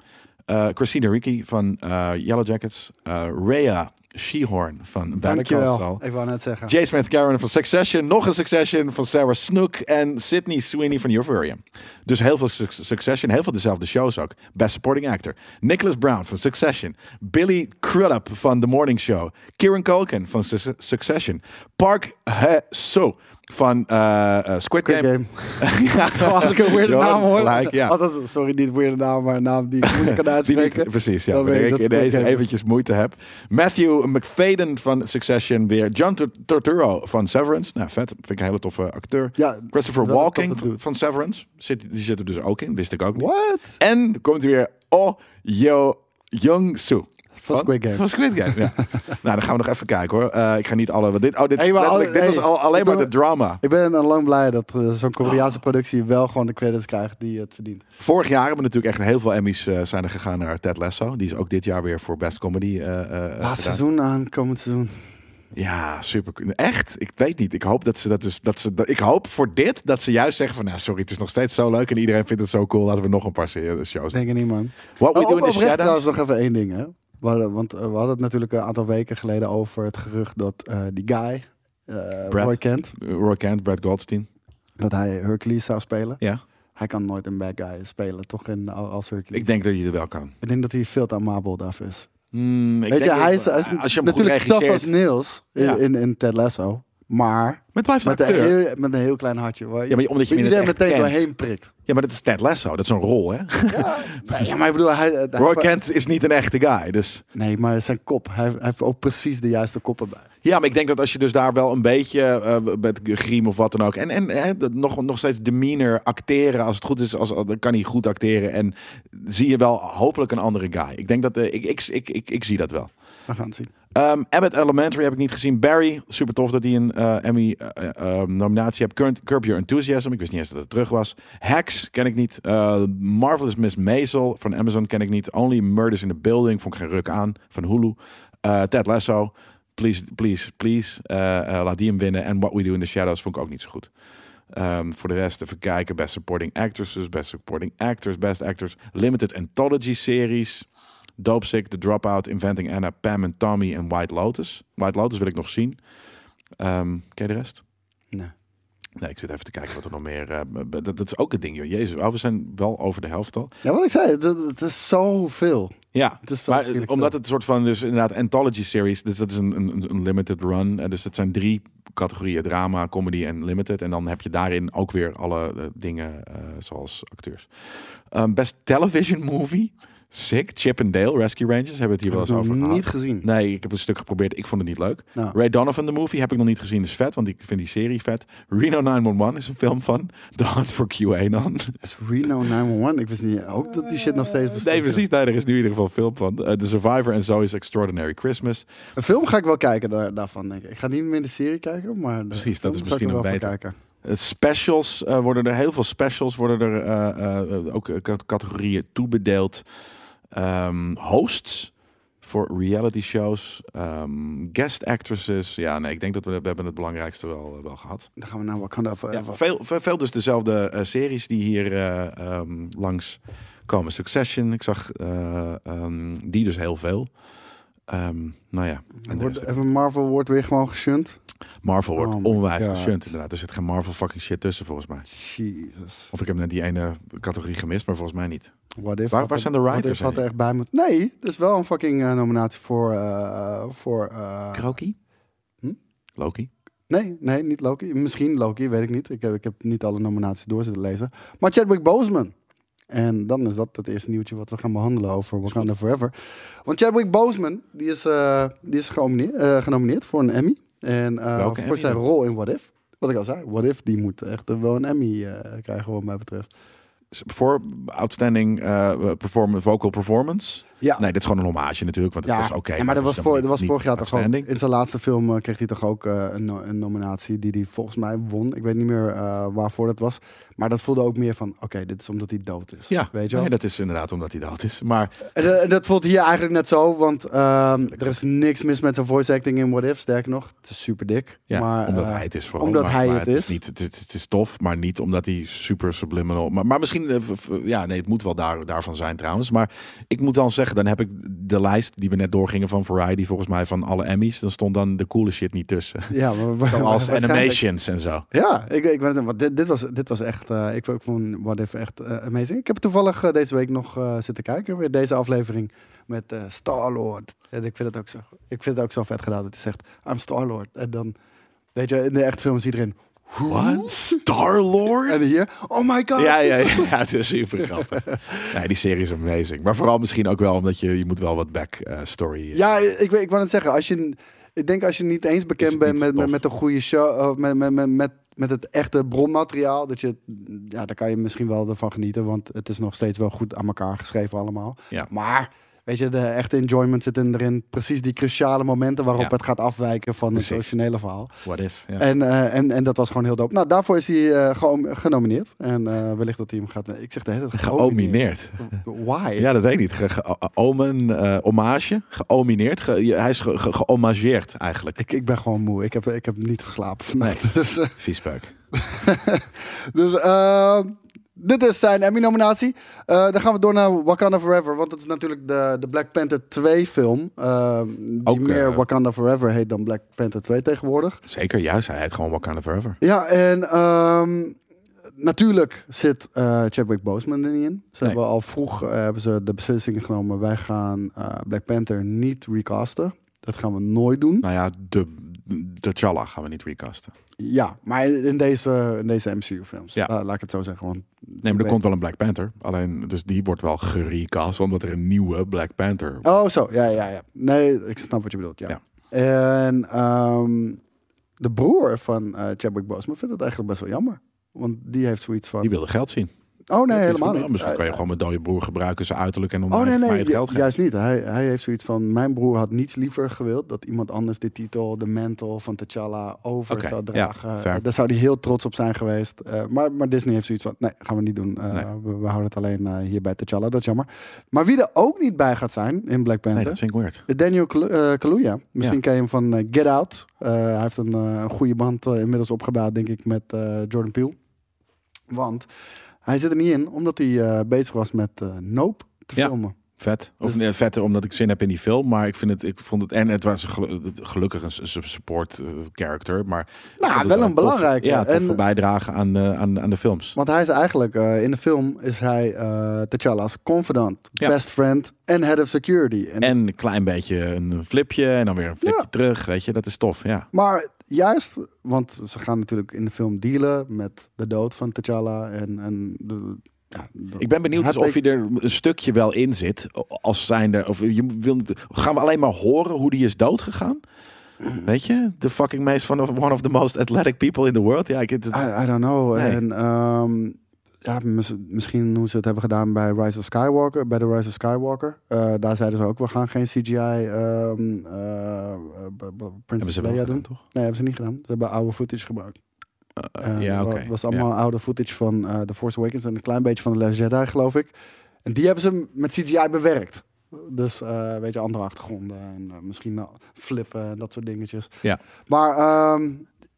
eh, Christina Ricci van eh, Yellow Jackets. eh Rhea Shehorn van Better Call Dankjewel. Saul. Ik wou net zeggen. J. Smith Karen van Succession. Nog een Succession van Sarah Snook. En Sydney Sweeney van Euphoria. Dus heel veel suc- Succession. Heel veel dezelfde shows ook. Best Supporting Actor. Nicholas Brown van Succession. Billy Crudup van The Morning Show. Kieran Culkin van Suc- Succession. Park Hee-soo van eh, eh, Squid, Squid Game. (laughs) Game. Als (laughs) ik een weirde Ja, naam hoor. gelijk, ja. Althans, Oh, sorry, niet weirde naam, maar een naam die ik moeilijk kan (laughs) Die niet- uitspreken. precies, ja. Dan Waar weet ik ik dat in Squid deze Game is. eventjes moeite heb. Matthew McFadden van Succession weer. John Tur- Turturro van Severance. Nou, vet. Vind ik een hele toffe acteur. Ja, Christopher wel een Walking toffe dude. van Severance. Zit, die zit er dus ook in. Wist ik ook niet. What? En komt hij weer Oh Yo Young Soo. Van Squid Game. Van Squid Game, (laughs) ja. nou, dan gaan we nog even kijken hoor. Eh, ik ga niet alle... want Dit, oh, dit, Hey, maar letterlijk, alle- dit hey, was al, ik alleen maar de ben- drama. Ik ben dan lang blij dat eh, zo'n Koreaanse productie wel gewoon de credits krijgt die het verdient. Vorig jaar hebben we natuurlijk echt heel veel Emmys eh, zijn er gegaan naar Ted Lasso. Die is ook dit jaar weer voor Best Comedy eh eh, Laatste gedaan. seizoen aan, komend seizoen. Ja, super. Echt? Ik weet niet. Ik hoop dat ze dat dus. Dat ze, dat, ik hoop voor dit dat ze juist zeggen van nou sorry, het is nog steeds zo leuk en iedereen vindt het zo cool. Laten we nog een paar se- eh, shows. doen. Denk ik niet, man. What we Oh, do op, in the oprecht trouwens shadows. nog even één ding, hè. We hadden- want eh, we hadden het natuurlijk een aantal weken geleden over het gerucht dat eh, die guy, eh Brad. Roy Kent, Roy Kent, Brad Goldstein. dat hij Hercules zou spelen. Ja. Hij kan nooit een bad guy spelen, toch? In, als Hercules. Ik denk dat je er wel kan. Ik denk dat hij veel te amabel daarvoor is. Hmm, ik Weet denk je, dat- hij is, hij is als je hem goed natuurlijk tough regisseert. als Niels in, Ja. in, in Ted Lasso. Maar Maar het blijft een met een, acteur. heel, met een heel klein hartje. Waar Ja, maar omdat je hem in iedereen het echt meteen kent. doorheen (laughs) prikt. Ja, maar dat is Ted Lasso. Dat is een rol, (laughs) hè? Nee, ja, maar ik bedoel, hij, hij- Roy Kent is niet een echte guy. Dus Nee, maar zijn kop. Hij, hij heeft ook precies de juiste koppen bij. Ja, maar ik denk dat als je dus daar wel een beetje eh, met griem of wat dan ook. En, en hè, dat nog, nog steeds demeanor acteren. Als het goed is, als, dan kan hij goed acteren. En zie je wel hopelijk een andere guy. Ik denk dat eh, ik, ik, ik, ik, ik zie dat wel. We gaan het zien. Ehm Abbott Elementary heb ik niet gezien. Barry, super tof dat hij een eh, Emmy eh, eh, nominatie heeft. Current, Curb Your Enthusiasm, ik wist niet eens dat het terug was. Hacks ken ik niet. Eh, Marvelous Miss Maisel van Amazon ken ik niet. Only Murders in the Building vond ik geen ruk aan van Hulu. Eh, Ted Lasso, please, please, please, eh, eh, laat die hem winnen. En What We Do in the Shadows vond ik ook niet zo goed. Ehm, voor de rest even kijken. Best Supporting Actresses, Best Supporting Actors, Best Actors. Limited Anthology Series. Dope Sick, The Dropout, Inventing Anna, Pam en Tommy en White Lotus. White Lotus wil ik nog zien. Ehm ken je de rest? Nee. Nee, ik zit even te kijken wat er nog meer... eh, b- b- dat, dat is ook een ding, joh. Jezus, oh, we zijn wel over de helft al. Ja, wat ik zei, dat- het is zoveel. Ja, Het is zo maar eh, verschrikkelijk omdat veel. het een soort van... Dus inderdaad, anthology series. Dus dat is een, een, een limited run. Eh, Dus dat zijn drie categorieën. Drama, comedy en limited. En dan heb je daarin ook weer alle eh, dingen eh, zoals acteurs. Ehm, best television movie. Sick, Chip and Dale, Rescue Rangers. Hebben we het hier wel eens Nog over gehad. niet gezien. Nee, ik heb een stuk geprobeerd. Ik vond het niet leuk. Nou. Ray Donovan, de movie, heb ik nog niet gezien. Is vet, want ik vind die serie vet. Reno 911 is een film van The Hunt for QAnon. Is Reno 911? Ik wist niet ook dat die shit nog steeds bestaat. Nee, precies. Nee, er is nu in ieder geval een film van. Eh, The Survivor en Zoe's Extraordinary Christmas. Een film ga ik wel kijken daar, daarvan, denk ik. Ik ga niet meer de serie kijken, maar... de Precies, dat film is zou ik misschien er wel nog voor beter. Kijken. Eh, specials eh, worden er, heel veel specials worden er eh, eh, eh, ook eh, cat- categorieën toebedeeld. Ehm, hosts voor reality shows. ehm, guest actresses. Ja, nee, ik denk dat we, we hebben het belangrijkste wel, eh, wel gehad. Dan gaan we nou naar Wakanda Forever. Ja, veel, veel, veel dus dezelfde eh, series die hier eh, ehm, langs komen. Succession, ik zag eh, ehm, die dus heel veel. Ehm, nou ja, en de Wordt, rest- even Marvel wordt weer gewoon geshunt. Marvel wordt Oh my onwijs God. geshunt inderdaad. Er zit geen Marvel fucking shit tussen volgens mij. Jesus. Of ik heb net die ene categorie gemist, maar volgens mij niet. What if Waar- had waar er- zijn de What writers if had er heen? echt bij moeten... Nee, dat is wel een fucking eh, nominatie voor... eh, voor eh, Kroki? Hm? Loki? nee, nee, niet Loki. Misschien Loki, weet ik niet. Ik heb, ik heb niet alle nominaties door zitten lezen. Maar Chadwick Boseman. En dan is dat het eerste nieuwtje wat we gaan behandelen over Wakanda Forever. Want Chadwick Boseman, die is, eh, die is genomineerd, eh, genomineerd voor een Emmy. En eh, Welke voor Emmy zijn dan? rol in What If. Wat ik al zei, What If, die moet echt eh, wel een Emmy eh, krijgen wat mij betreft. voor Outstanding eh, perform, Vocal Performance. Ja. Nee, dit is gewoon een hommage natuurlijk, want het Ja, was oké. ja, maar dat het was, voor, dat helemaal was niet- vorig jaar niet toch ook. outstanding. In zijn laatste film eh, kreeg hij toch ook eh, een, no- een nominatie die hij volgens mij won. Ik weet niet meer eh, waarvoor dat was. Maar dat voelde ook meer van, oké, dit is omdat hij dood is. Ja, weet je wel? nee, dat is inderdaad omdat hij dat is. Maar En, eh, en dat voelt hier eigenlijk net zo, want ehm, er is niks mis met zijn voice acting in What If. Sterker nog, het is super dik. ja, maar, omdat eh, hij het is vooral. omdat maar, hij maar het is. niet, het, is, het is tof, maar niet omdat hij super subliminal... Maar, maar misschien... eh, v- v- Ja, nee, het moet wel daar, daarvan zijn trouwens. Maar ik moet dan zeggen, dan heb ik de lijst die we net doorgingen van Variety... volgens mij van alle Emmys, dan stond dan de coole shit niet tussen. (laughs) Ja, maar, maar- Zoals waarschijnlijk- animations en zo. Ja, ik, ik weet het, want dit, dit, was, dit was echt, eh, ik, ik vond What If echt eh, amazing. Ik heb toevallig eh, deze week nog eh, zitten kijken, weer deze aflevering met eh, Star-Lord. En ik vind, het ook zo, ik vind het ook zo vet gedaan dat hij zegt, I'm Star-Lord. En dan, weet je, in de echte film is iedereen, What? Star-Lord? en hier, oh my god. (laughs) Ja, ja, ja, ja, het is super (laughs) grappig. Nee, die serie is amazing. Maar vooral misschien ook wel omdat je, je moet wel wat back eh, story... eh, Ja, ik, weet- ik wou het zeggen. Als je, ik denk als je niet eens Is bekend het bent niet met, met, tof. met een goede show, of met, met, met, met, met het echte bronmateriaal, dat je, ja, daar kan je misschien wel ervan genieten, want het is nog steeds wel goed aan elkaar geschreven allemaal. Ja. Maar, weet je, de echte enjoyment zit in- erin. Precies die cruciale momenten waarop Ja. het gaat afwijken van het Precies. originele verhaal. What if? Ja. En, eh, en, en dat was gewoon heel dope. Nou, daarvoor is hij eh, gewoon genomineerd. En eh, wellicht dat hij hem gaat... Ik zeg de hele tijd Geomineerd. Why? Ja, dat weet ik niet. Ge, ge- o- omen, eh hommage, geomineerd. Ge- je- hij is ge, ge- gehomageerd eigenlijk. Ik, ik ben gewoon moe. Ik heb, ik heb niet geslapen vannacht. (laughs) Dus, eh, Viespeuk. Dus eh, dit is zijn Emmy-nominatie. Eh, dan gaan we door naar Wakanda Forever. Want dat is natuurlijk de, de Black Panther 2 film. eh, die Ook, meer eh, Wakanda Forever heet dan Black Panther 2 tegenwoordig. Zeker, juist. Hij heet gewoon Wakanda Forever. Ja, en ehm, natuurlijk zit eh, Chadwick Boseman er niet in. Ze Nee. hebben al vroeg eh, hebben ze de beslissing genomen. Wij gaan eh, Black Panther niet recasten. Dat gaan we nooit doen. Nou ja, de, de T'Challa gaan we niet recasten. Ja, maar in deze, in deze MCU-films. Ja. Laat ik het zo zeggen. Want Nee, maar weet- er komt wel een Black Panther. Alleen, dus die wordt wel gerecast, omdat er een nieuwe Black Panther... Oh, zo. Ja, ja, ja. Nee, ik snap wat je bedoelt. Ja. Ja. En ehm, de broer van eh Chadwick Boseman vindt het eigenlijk best wel jammer. Want die heeft zoiets van... Die wilde geld zien. Oh, nee, Dus helemaal van, niet. oh, Misschien kan je Hij- gewoon mijn dode broer gebruiken, zijn uiterlijk en om Oh, nee, mij nee. het geld ju- geven. Juist niet. Hij, hij heeft zoiets van... Mijn broer had niets liever gewild dat iemand anders de titel, de mantel van T'Challa over Oké, zou ja, dragen. fair. Daar zou hij heel trots op zijn geweest. Eh, maar, maar Disney heeft zoiets van... Nee, gaan we niet doen. Eh, Nee. we, we houden het alleen eh, hier bij T'Challa. Dat is jammer. Maar wie er ook niet bij gaat zijn in Black Panther... Nee, dat vind ik weird. Daniel Kalu- eh, Kaluuya. Misschien Ja. ken je hem van eh, Get Out. Eh, hij heeft een eh, een goede band eh, inmiddels opgebouwd, denk ik, met eh, Jordan Peele. Want hij zit er niet in, omdat hij eh, bezig was met eh, Nope te Ja. filmen. Vet. Of Dus- nee, vetter omdat ik zin heb in die film. Maar ik, vind het, ik vond het. En het was gelu- het- gelukkig een s- support eh, character. Maar ik Nou, vond het wel tof- een belangrijke. Ja, En- toffe bijdrage aan, eh, aan, aan de films. Want hij is eigenlijk, eh, in de film is hij eh T'Challa's confidant, Ja. best friend en head of security. En, En een klein beetje een flipje. En dan weer een flipje Ja. terug. Weet je, dat is tof. Ja. Maar juist, want ze gaan natuurlijk in de film dealen met de dood van T'Challa en... en de, ja, dat- Ik ben benieuwd dus of Heartbreak- je er een stukje wel in zit. Als zijnde. Of je wil, niet- gaan we alleen maar horen hoe die is doodgegaan? Weet je, de fucking meest van one of the most athletic people in the world. Ja, ik, het, I, I don't know. Nee. En ehm, ja, mis- misschien hoe ze het hebben gedaan bij Rise of Skywalker, bij de Rise of Skywalker. Eh, daar zeiden ze ook, we gaan geen CGI ehm eh, eh, b- b- hebben Princess ze wel Leia gedaan, doen. toch? Nee, hebben ze niet gedaan. Ze hebben oude footage gebruikt. Eh, ja, wa- oké. was Ja. allemaal oude footage van eh, The Force Awakens en een klein beetje van The Last Jedi, geloof ik. En die hebben ze met CGI bewerkt. Dus eh, weet je, andere achtergronden en eh, misschien nou flippen en dat soort dingetjes. Ja. Maar ehm,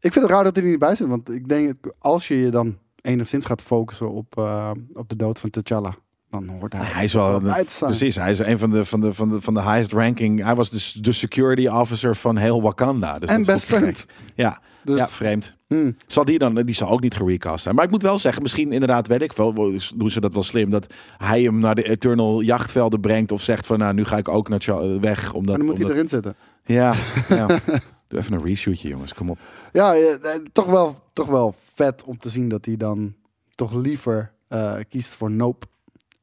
ik vind het raar dat hij er niet bij zit. Want ik denk, als je je dan enigszins gaat focussen op, eh, op de dood van T'Challa, dan hoort Nee, hij, Nou hij is wel er een- bij te staan. Precies, hij is een van de, van de, van de, van de highest ranking. Hij was dus de security officer van heel Wakanda. Dus En dat is best ook gek. friend. Ja, Dus- ja vreemd. Hmm. Zal die dan, die zal ook niet gerecast zijn. Maar ik moet wel zeggen, misschien inderdaad, weet ik wel, doen ze dat wel slim. Dat hij hem naar de Eternal jachtvelden brengt. Of zegt van, nou, nu ga ik ook naar Cha- eh, weg. Omdat, Maar dan moet hij omdat- erin zitten. (laughs) Ja, ja. Doe even een reshootje, jongens. Kom op. Ja, eh, eh, toch wel, toch wel vet om te zien dat hij dan toch liever eh, kiest voor Nope.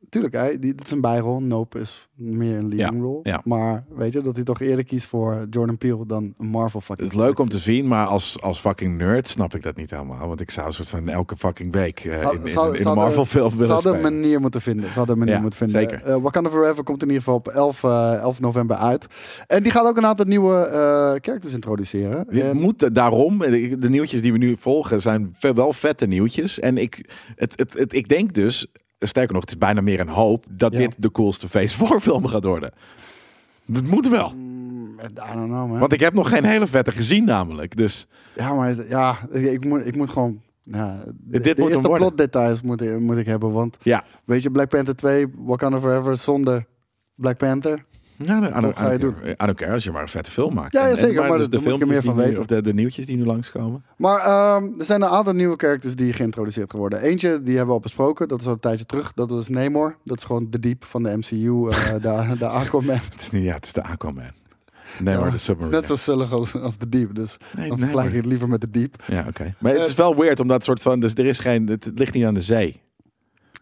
tuurlijk, hij, die, dat is een bijrol. Nope is meer een leading Ja, rol. ja. Maar weet je, dat hij toch eerder kiest voor Jordan Peele dan een Marvel Het fucking is leuk om productie. te zien, maar als, als fucking nerd snap ik dat niet helemaal. Want ik zou een soort van elke fucking week eh, Zou- in, in, zou- in een zou de- Marvel film Ze willen hadden een spelen. manier moeten vinden. Ze hadden een manier Ja, moeten vinden. zeker. Eh, Wakanda Forever komt in ieder geval op 11, eh, 11 november uit. En die gaat ook een aantal nieuwe eh characters introduceren. Dit En- moet daarom, eh, de de nieuwtjes die we nu volgen zijn ve- wel vette nieuwtjes. En ik, het, het, het, ik denk dus, sterker nog, het is bijna meer een hoop dat Ja. dit de coolste (laughs) Phase 4 film gaat worden. Dat moet wel. Mm, I don't know, man. Want ik heb nog geen hele vette gezien namelijk. Dus Ja, maar het- ja, ik, ik moet, ik moet gewoon... Ja, de, dit de moet hem eerste worden. plotdetails moet, ik- moet ik hebben. Want ja, weet je, Black Panther 2, Wakanda Forever zonder Black Panther. ja I, don't, Wat ga je I don't care. I don't care als je maar een vette film maakt. Ja, ja, En- en- zeker, maar dus daar moet ik er meer filmpjes die van nu- weten. Of de, de nieuwtjes die nu langskomen. Maar ehm, er zijn een aantal nieuwe characters die geïntroduceerd worden. Eentje, die hebben we al besproken, dat is al een tijdje terug. Dat was Namor. Dat is gewoon de diep van de (laughs) MCU, eh, de, de Aquaman. Het is niet, ja, het is de Aquaman. Nee, maar de Het is Submarine. Net zo zullig als, als de diep, dus Nee, dan nee, vergelijk ik maar- het liever met de diep. Ja, oké. Maar het Eh, is wel weird, omdat soort van, dus er is geen, het, het ligt niet aan de zee.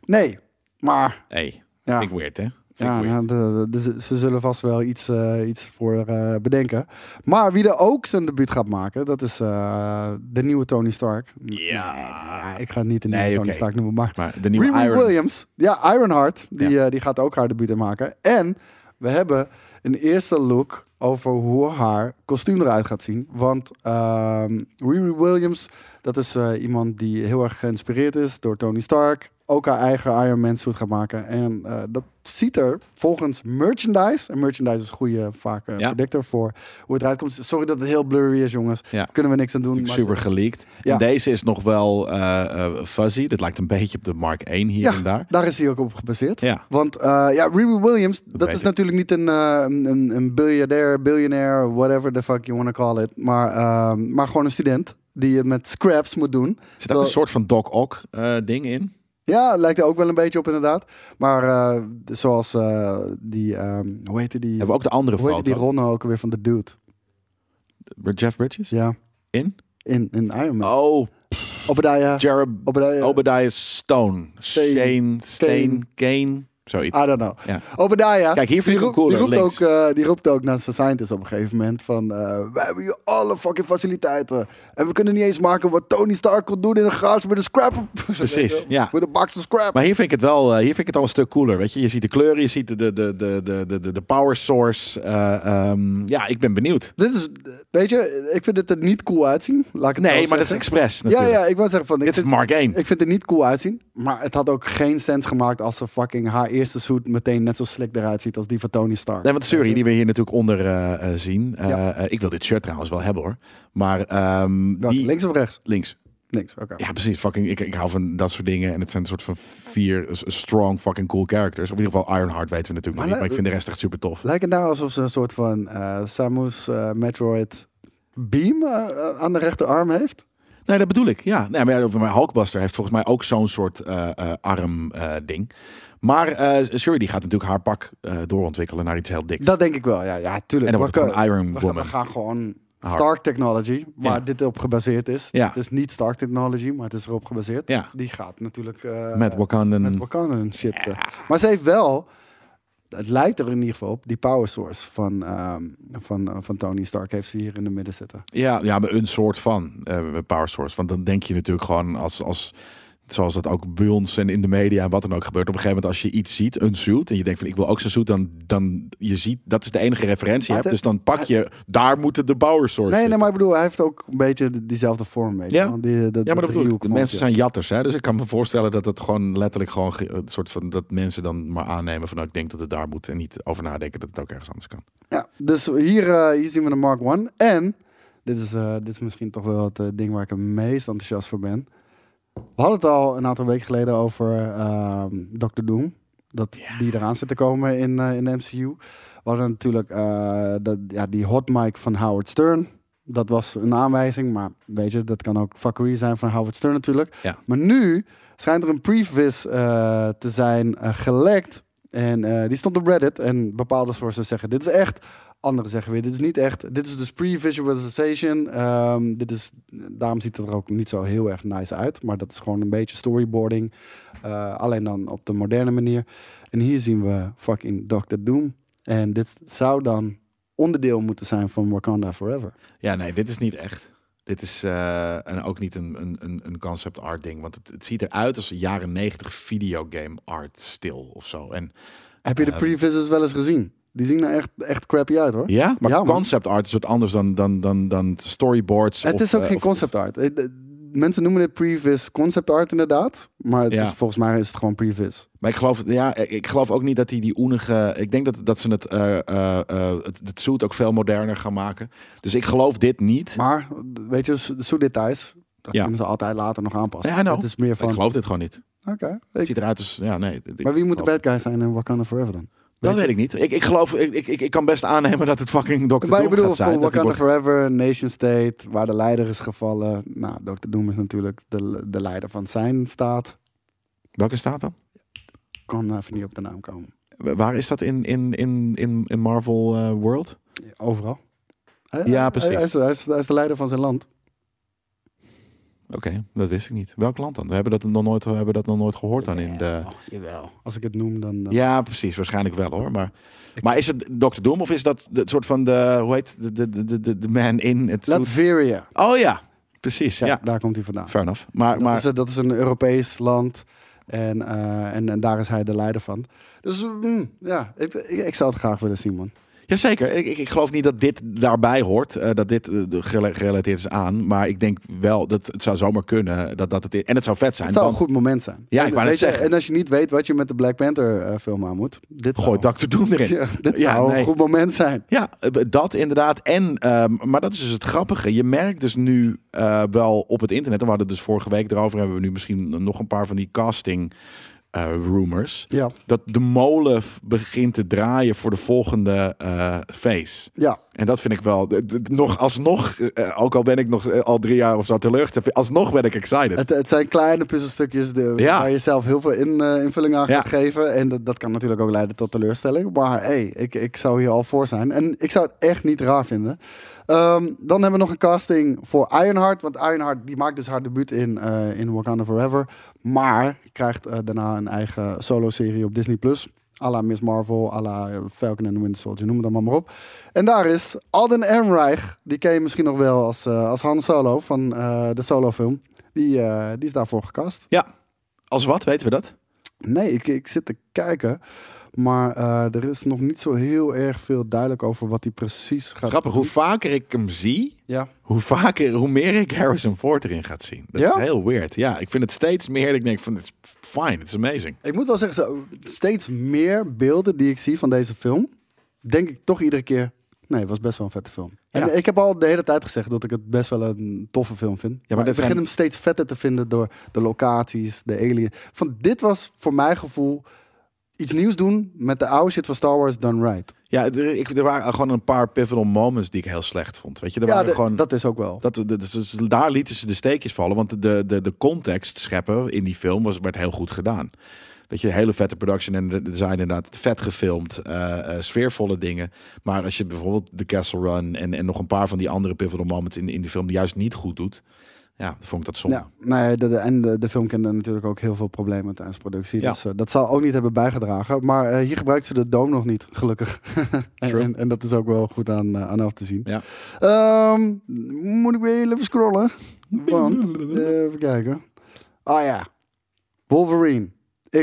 Nee, maar Hey, ja, vind ik weird, hè? Vind ik ja weird. nou, de- de- ze- ze zullen vast wel iets, eh, iets voor eh, bedenken. Maar wie er ook zijn debuut gaat maken, dat is eh, de nieuwe Tony Stark. Ja. Nee, ik ga het niet de nieuwe Nee, Tony oké. Stark noemen, maar Maar de nieuwe Riri Iron... Williams, ja, Ironheart, die, Ja. eh, die gaat ook haar debuut in maken. En we hebben een eerste look over hoe haar kostuum eruit gaat zien. Want ehm Riri Williams, dat is eh, iemand die heel erg geïnspireerd is door Tony Stark. Ook haar eigen Iron Man suit gaat maken. En eh, dat ziet er volgens merchandise, en merchandise is een goede vaak eh, Ja. predictor voor hoe het eruit komt. Sorry dat het heel blurry is, jongens. Ja. Kunnen we niks aan doen. Natuurlijk maar- super geleakt. Ja. En deze is nog wel eh, eh, fuzzy. Dat lijkt een beetje op de Mark 1 hier en daar. Daar is hij ook op gebaseerd. Ja. Want eh, ja, Riri Williams, dat, weet is ik. natuurlijk niet een, eh een, een- een biljardair, biljonair, whatever the fuck you want to call it. Maar, ehm, maar gewoon een student die het met scraps moet doen. Er zit ook een Terwijl- soort van Doc Ock eh, ding in. Ja, lijkt er ook wel een beetje op inderdaad. Maar eh, de- zoals eh, die, ehm, hoe heette die? Hebben we ook de andere hoe heette die foto. Ron ook weer van de dude? Jeff Bridges? Ja, In? in, in Iron Man. Oh, Obadiah. Jared... Obadiah. Obadiah Stone. eh, Steen. Ah. Shane, Steen, Kane. Zoiets. I don't know. Ja. Obadiah. Kijk, hier vind die ik roept- hem cooler, Die roept, links. ook, eh, die roept ook naar zijn scientist op een gegeven moment van... eh we hebben hier alle fucking faciliteiten. En we kunnen niet eens maken wat Tony Stark kon doen in een garage met een (laughs) scrap. Precies, ja. Met een box of scrap. Maar hier vind ik het wel, eh, hier vind ik het al een stuk cooler. Weet je, je ziet de kleuren, je ziet de, de, de, de, de, de, de power source. Eh, ehm, ja, ik ben benieuwd. Dit is... Weet je, ik vind het er niet cool uitzien. Laat ik het Nee, zo maar dat is zeggen. expres. Ja, natuurlijk. ja, ik wil zeggen van... Ik Dit is vind, Mark 1. ik vind het niet cool uitzien. Maar het had ook geen sens gemaakt als ze fucking haar eerste suit meteen net zo slick eruit ziet als die van Tony Stark. Nee, want sorry, die we hier natuurlijk onder eh, eh, zien. Eh, Ja. eh, ik wil dit shirt trouwens wel hebben hoor. Maar ehm, Welke, die... Links of rechts? links. Links, oké. Ja, precies. Fucking, ik, ik hou van dat soort dingen. En het zijn een soort van vier s- strong fucking cool characters. Of in ieder geval Ironheart weten we natuurlijk nog Maar niet. Maar ik le- vind de rest echt super tof. Lijkt het nou alsof ze een soort van eh, Samus eh, Metroid beam eh, eh, aan de rechterarm heeft? Nee, dat bedoel ik. Ja, nee, maar, ja, maar Hulkbuster heeft volgens mij ook zo'n soort eh, eh, arm eh, ding. Maar eh Shuri die gaat natuurlijk haar pak eh, doorontwikkelen naar iets heel diks. Dat denk ik wel, ja, ja tuurlijk. en dan wordt We het gewoon kunnen- Iron we, gaan- Woman. we gaan gewoon Hard. Stark Technology, waar Ja. dit op gebaseerd is. Ja. Het is niet Stark Technology, maar het is erop gebaseerd. Ja. Die gaat natuurlijk eh, met Wakandan. met Wakanda en shit. eh. Maar ze heeft wel, het lijkt er in ieder geval op, die power source van, ehm, van, eh, van Tony Stark heeft ze hier in de midden zitten. Ja, ja, maar een soort van eh, power source. Want dan denk je natuurlijk gewoon als, als zoals dat ook bij ons en in de media en wat dan ook gebeurt. Op een gegeven moment als je iets ziet, een suit, en je denkt van ik wil ook zo'n suit, dan, dan je ziet dat is de enige referentie. Maar Je hebt, het- dus dan pak je daar moeten de power source. Nee, nee, zitten. maar ik bedoel, hij heeft ook een beetje de- diezelfde vorm. Weet je Ja. wel, die, dat- ja, maar dat bedoel ik. driehoek De vormpje. mensen zijn jatters, hè? dus ik kan me voorstellen dat het gewoon letterlijk gewoon ge- het soort van dat mensen dan maar aannemen van nou, ik denk dat het daar moet en niet over nadenken dat het ook ergens anders kan. Ja, dus hier, eh, hier zien we de Mark One. En, dit is, eh, dit is misschien toch wel het eh, ding waar ik het meest enthousiast voor ben. We hadden het al een aantal weken geleden over ehm Dr. Doom. Dat die eraan zit te komen in, eh, in de MCU. We hadden natuurlijk eh, dat, ja, die hot mic van Howard Stern. Dat was een aanwijzing, maar weet je, dat kan ook fuckery zijn van Howard Stern natuurlijk. Ja. Maar nu schijnt er een previs eh, te zijn eh, gelekt. En eh, die stond op Reddit en bepaalde sources zeggen, dit is echt Anderen zeggen weer, dit is niet echt. Dit is dus pre-visualization. Ehm, dit is, daarom ziet het er ook niet zo heel erg nice uit. Maar dat is gewoon een beetje storyboarding. Eh, alleen dan op de moderne manier. En hier zien we fucking Doctor Doom. En dit zou dan onderdeel moeten zijn van Wakanda Forever. Ja, nee, dit is niet echt. Dit is eh, en ook niet een, een- een, een concept art ding. Want het, het ziet eruit als een jaren negentig videogame art stil of zo. En Heb je de Ehm. pre-visuals wel eens gezien? Die zien er echt, echt crappy uit hoor. ja, maar Ja, man. concept art is wat anders dan, dan, dan, dan storyboards. Het of, is ook eh, geen of- concept art. Eh, de- Mensen noemen dit previs concept art inderdaad. Maar het Ja. is- volgens mij is het gewoon previs. Maar ik geloof, ja, ik- ik geloof ook niet dat die, die oenige... Ik denk dat, dat ze het, eh eh, eh, het, het suit ook veel moderner gaan maken. Dus ik geloof dit niet. Maar weet je, zo- zo details. Dat Ja. kunnen ze altijd later nog aanpassen. Ja, I know. Het is meer Ik van. geloof dit gewoon niet. Oké. Het ik- ziet eruit als... Ja, nee. ik- Maar wie moet de geloof- bad guy zijn in Wakanda Forever dan? Dat Weet weet ik niet. Ik, ik geloof, ik, ik, ik ik kan best aannemen dat het fucking Dr. Maar ik Doom bedoel, gaat zijn. van Dat die Wakanda wordt- Forever, Nation State, waar de leider is gevallen. Nou, Dr. Doom is natuurlijk de, de leider van zijn staat. Welke staat dan? Kon even niet op de naam komen. Wa- Waar is dat in, in, in, in, in Marvel eh, World? Overal. Hij- Ja, hij- precies. Hij is, hij is- hij is de leider van zijn land. Oké, dat wist ik niet. Welk land dan? We hebben dat nog nooit, we hebben dat nog nooit gehoord dan in de... Oh, jawel. Als ik het noem, dan... dan- Ja, precies. Waarschijnlijk wel hoor. Maar, maar is het Dr. Doom of is dat de het soort van de, hoe heet, de, de, de, de, de man in het suit? Latveria. Oh ja, precies. Ja, Ja, daar komt hij vandaan. fair enough. Maar, Dat, maar is, dat is een Europees land. En, eh, en, en daar is hij de leider van. Dus mm, ja, ik, ik, ik zou het graag willen zien, man. Jazeker. Ik, ik, ik geloof niet dat dit daarbij hoort. eh, dat dit eh, de- gerela- gerelateerd is aan. Maar ik denk wel dat het zou zomaar kunnen. Dat, dat het, en het zou vet zijn. Het zou een want- goed moment zijn. Ja, En, ik wou net weet je, zeggen. En als je niet weet wat je met de Black Panther eh, film aan moet. Dit Gooi zou, Dr. Doom erin. (laughs) Ja, dit Ja, zou nee. een goed moment zijn. Ja, eh, dat inderdaad. En, ehm, maar dat is dus het grappige. Je merkt dus nu eh, wel op het internet. En we hadden het dus vorige week erover. Hebben we nu misschien nog een paar van die casting eh, rumors. Ja, Dat de molen f- begint te draaien voor de volgende eh face. ja. En dat vind ik wel. d- d- Nog alsnog, eh, eh, ook al ben ik nog eh, al drie jaar of zo teleurgesteld, alsnog ben ik excited. Het, het zijn kleine puzzelstukjes de, Ja. waar je zelf heel veel in, eh, invulling aan Ja. gaat geven. En dat, dat kan natuurlijk ook leiden tot teleurstelling. Maar hey, ik, ik zou hier al voor zijn. En ik zou het echt niet raar vinden. Ehm, dan hebben we nog een casting voor Ironheart. Want Ironheart die maakt dus haar debuut in, eh, in Wakanda Forever. Maar krijgt eh, daarna een eigen solo-serie op Disney+. Plus. à la Miss Marvel, à la eh, Falcon and the Winter Soldier, noem het allemaal maar op. En daar is Alden Ehrenreich. Die ken je misschien nog wel als, eh, als Han Solo van eh, de Solo-film. Die, eh, die is daarvoor gecast. Ja. Als wat, weten we dat? Nee, ik, ik zit te kijken. Maar eh, er is nog niet zo heel erg veel duidelijk over wat hij precies gaat Grappig, hoe vaker ik hem zie, Ja. hoe vaker, hoe meer ik Harrison Ford erin gaat zien. Dat Ja? is heel weird. Ja, ik vind het steeds meer. dat Ik denk van, het is fine, het is amazing. Ik moet wel zeggen, zo, steeds meer beelden die ik zie van deze film, denk ik toch iedere keer, nee, het was best wel een vette film. Ja. En ik heb al de hele tijd gezegd dat ik het best wel een toffe film vind. maar maar ik dit begin zijn- hem steeds vetter te vinden door de locaties, de alien. Van dit was voor mijn gevoel iets nieuws doen met de oude shit van Star Wars done right. Ja, er, ik, er waren gewoon een paar pivotal moments die ik heel slecht vond. Weet je, er ja, waren de- gewoon. dat is ook wel. Dat, dat, dat- dus daar lieten ze de steekjes vallen. Want de, de, de context scheppen in die film was, werd heel goed gedaan. Weet je, hele vette production en de design inderdaad vet gefilmd. eh, eh, sfeervolle dingen. Maar als je bijvoorbeeld de Castle Run en, en nog een paar van die andere pivotal moments in, in de film juist niet goed doet. Ja, dan vond ik dat zonde. Ja, nee, de, de- en de, de film kende natuurlijk ook heel veel problemen tijdens productie. Ja. Dus eh, dat zal ook niet hebben bijgedragen. Maar eh, hier gebruikt ze de dome nog niet, gelukkig. (laughs) en, True. en, en dat is ook wel goed aan, eh, aan af te zien. Ja. Ehm, moet ik weer heel even scrollen? (laughs) Want, eh, even kijken. Ah ja, Wolverine,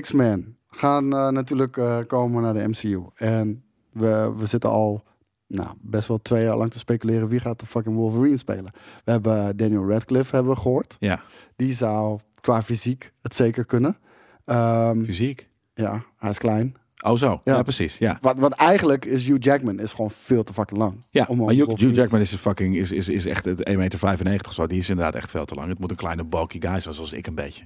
X-Men gaan eh, natuurlijk eh, komen naar de MCU. En we, we zitten al nou, best wel twee jaar lang te speculeren wie gaat de fucking Wolverine spelen. We hebben eh, Daniel Radcliffe hebben we gehoord Ja, die zou qua fysiek het zeker kunnen. Ehm, fysiek. ja, hij is klein. Oh zo, ja, Ja. precies. Ja, Wat, wat eigenlijk is Hugh Jackman is gewoon veel te fucking lang. ja. Om- maar om Hugh, Hugh Wolverine- Jackman is, een fucking, is, is, is echt 1,95 meter of zo. Die is inderdaad echt veel te lang. Het moet een kleine bulky guy zijn, zoals ik een beetje.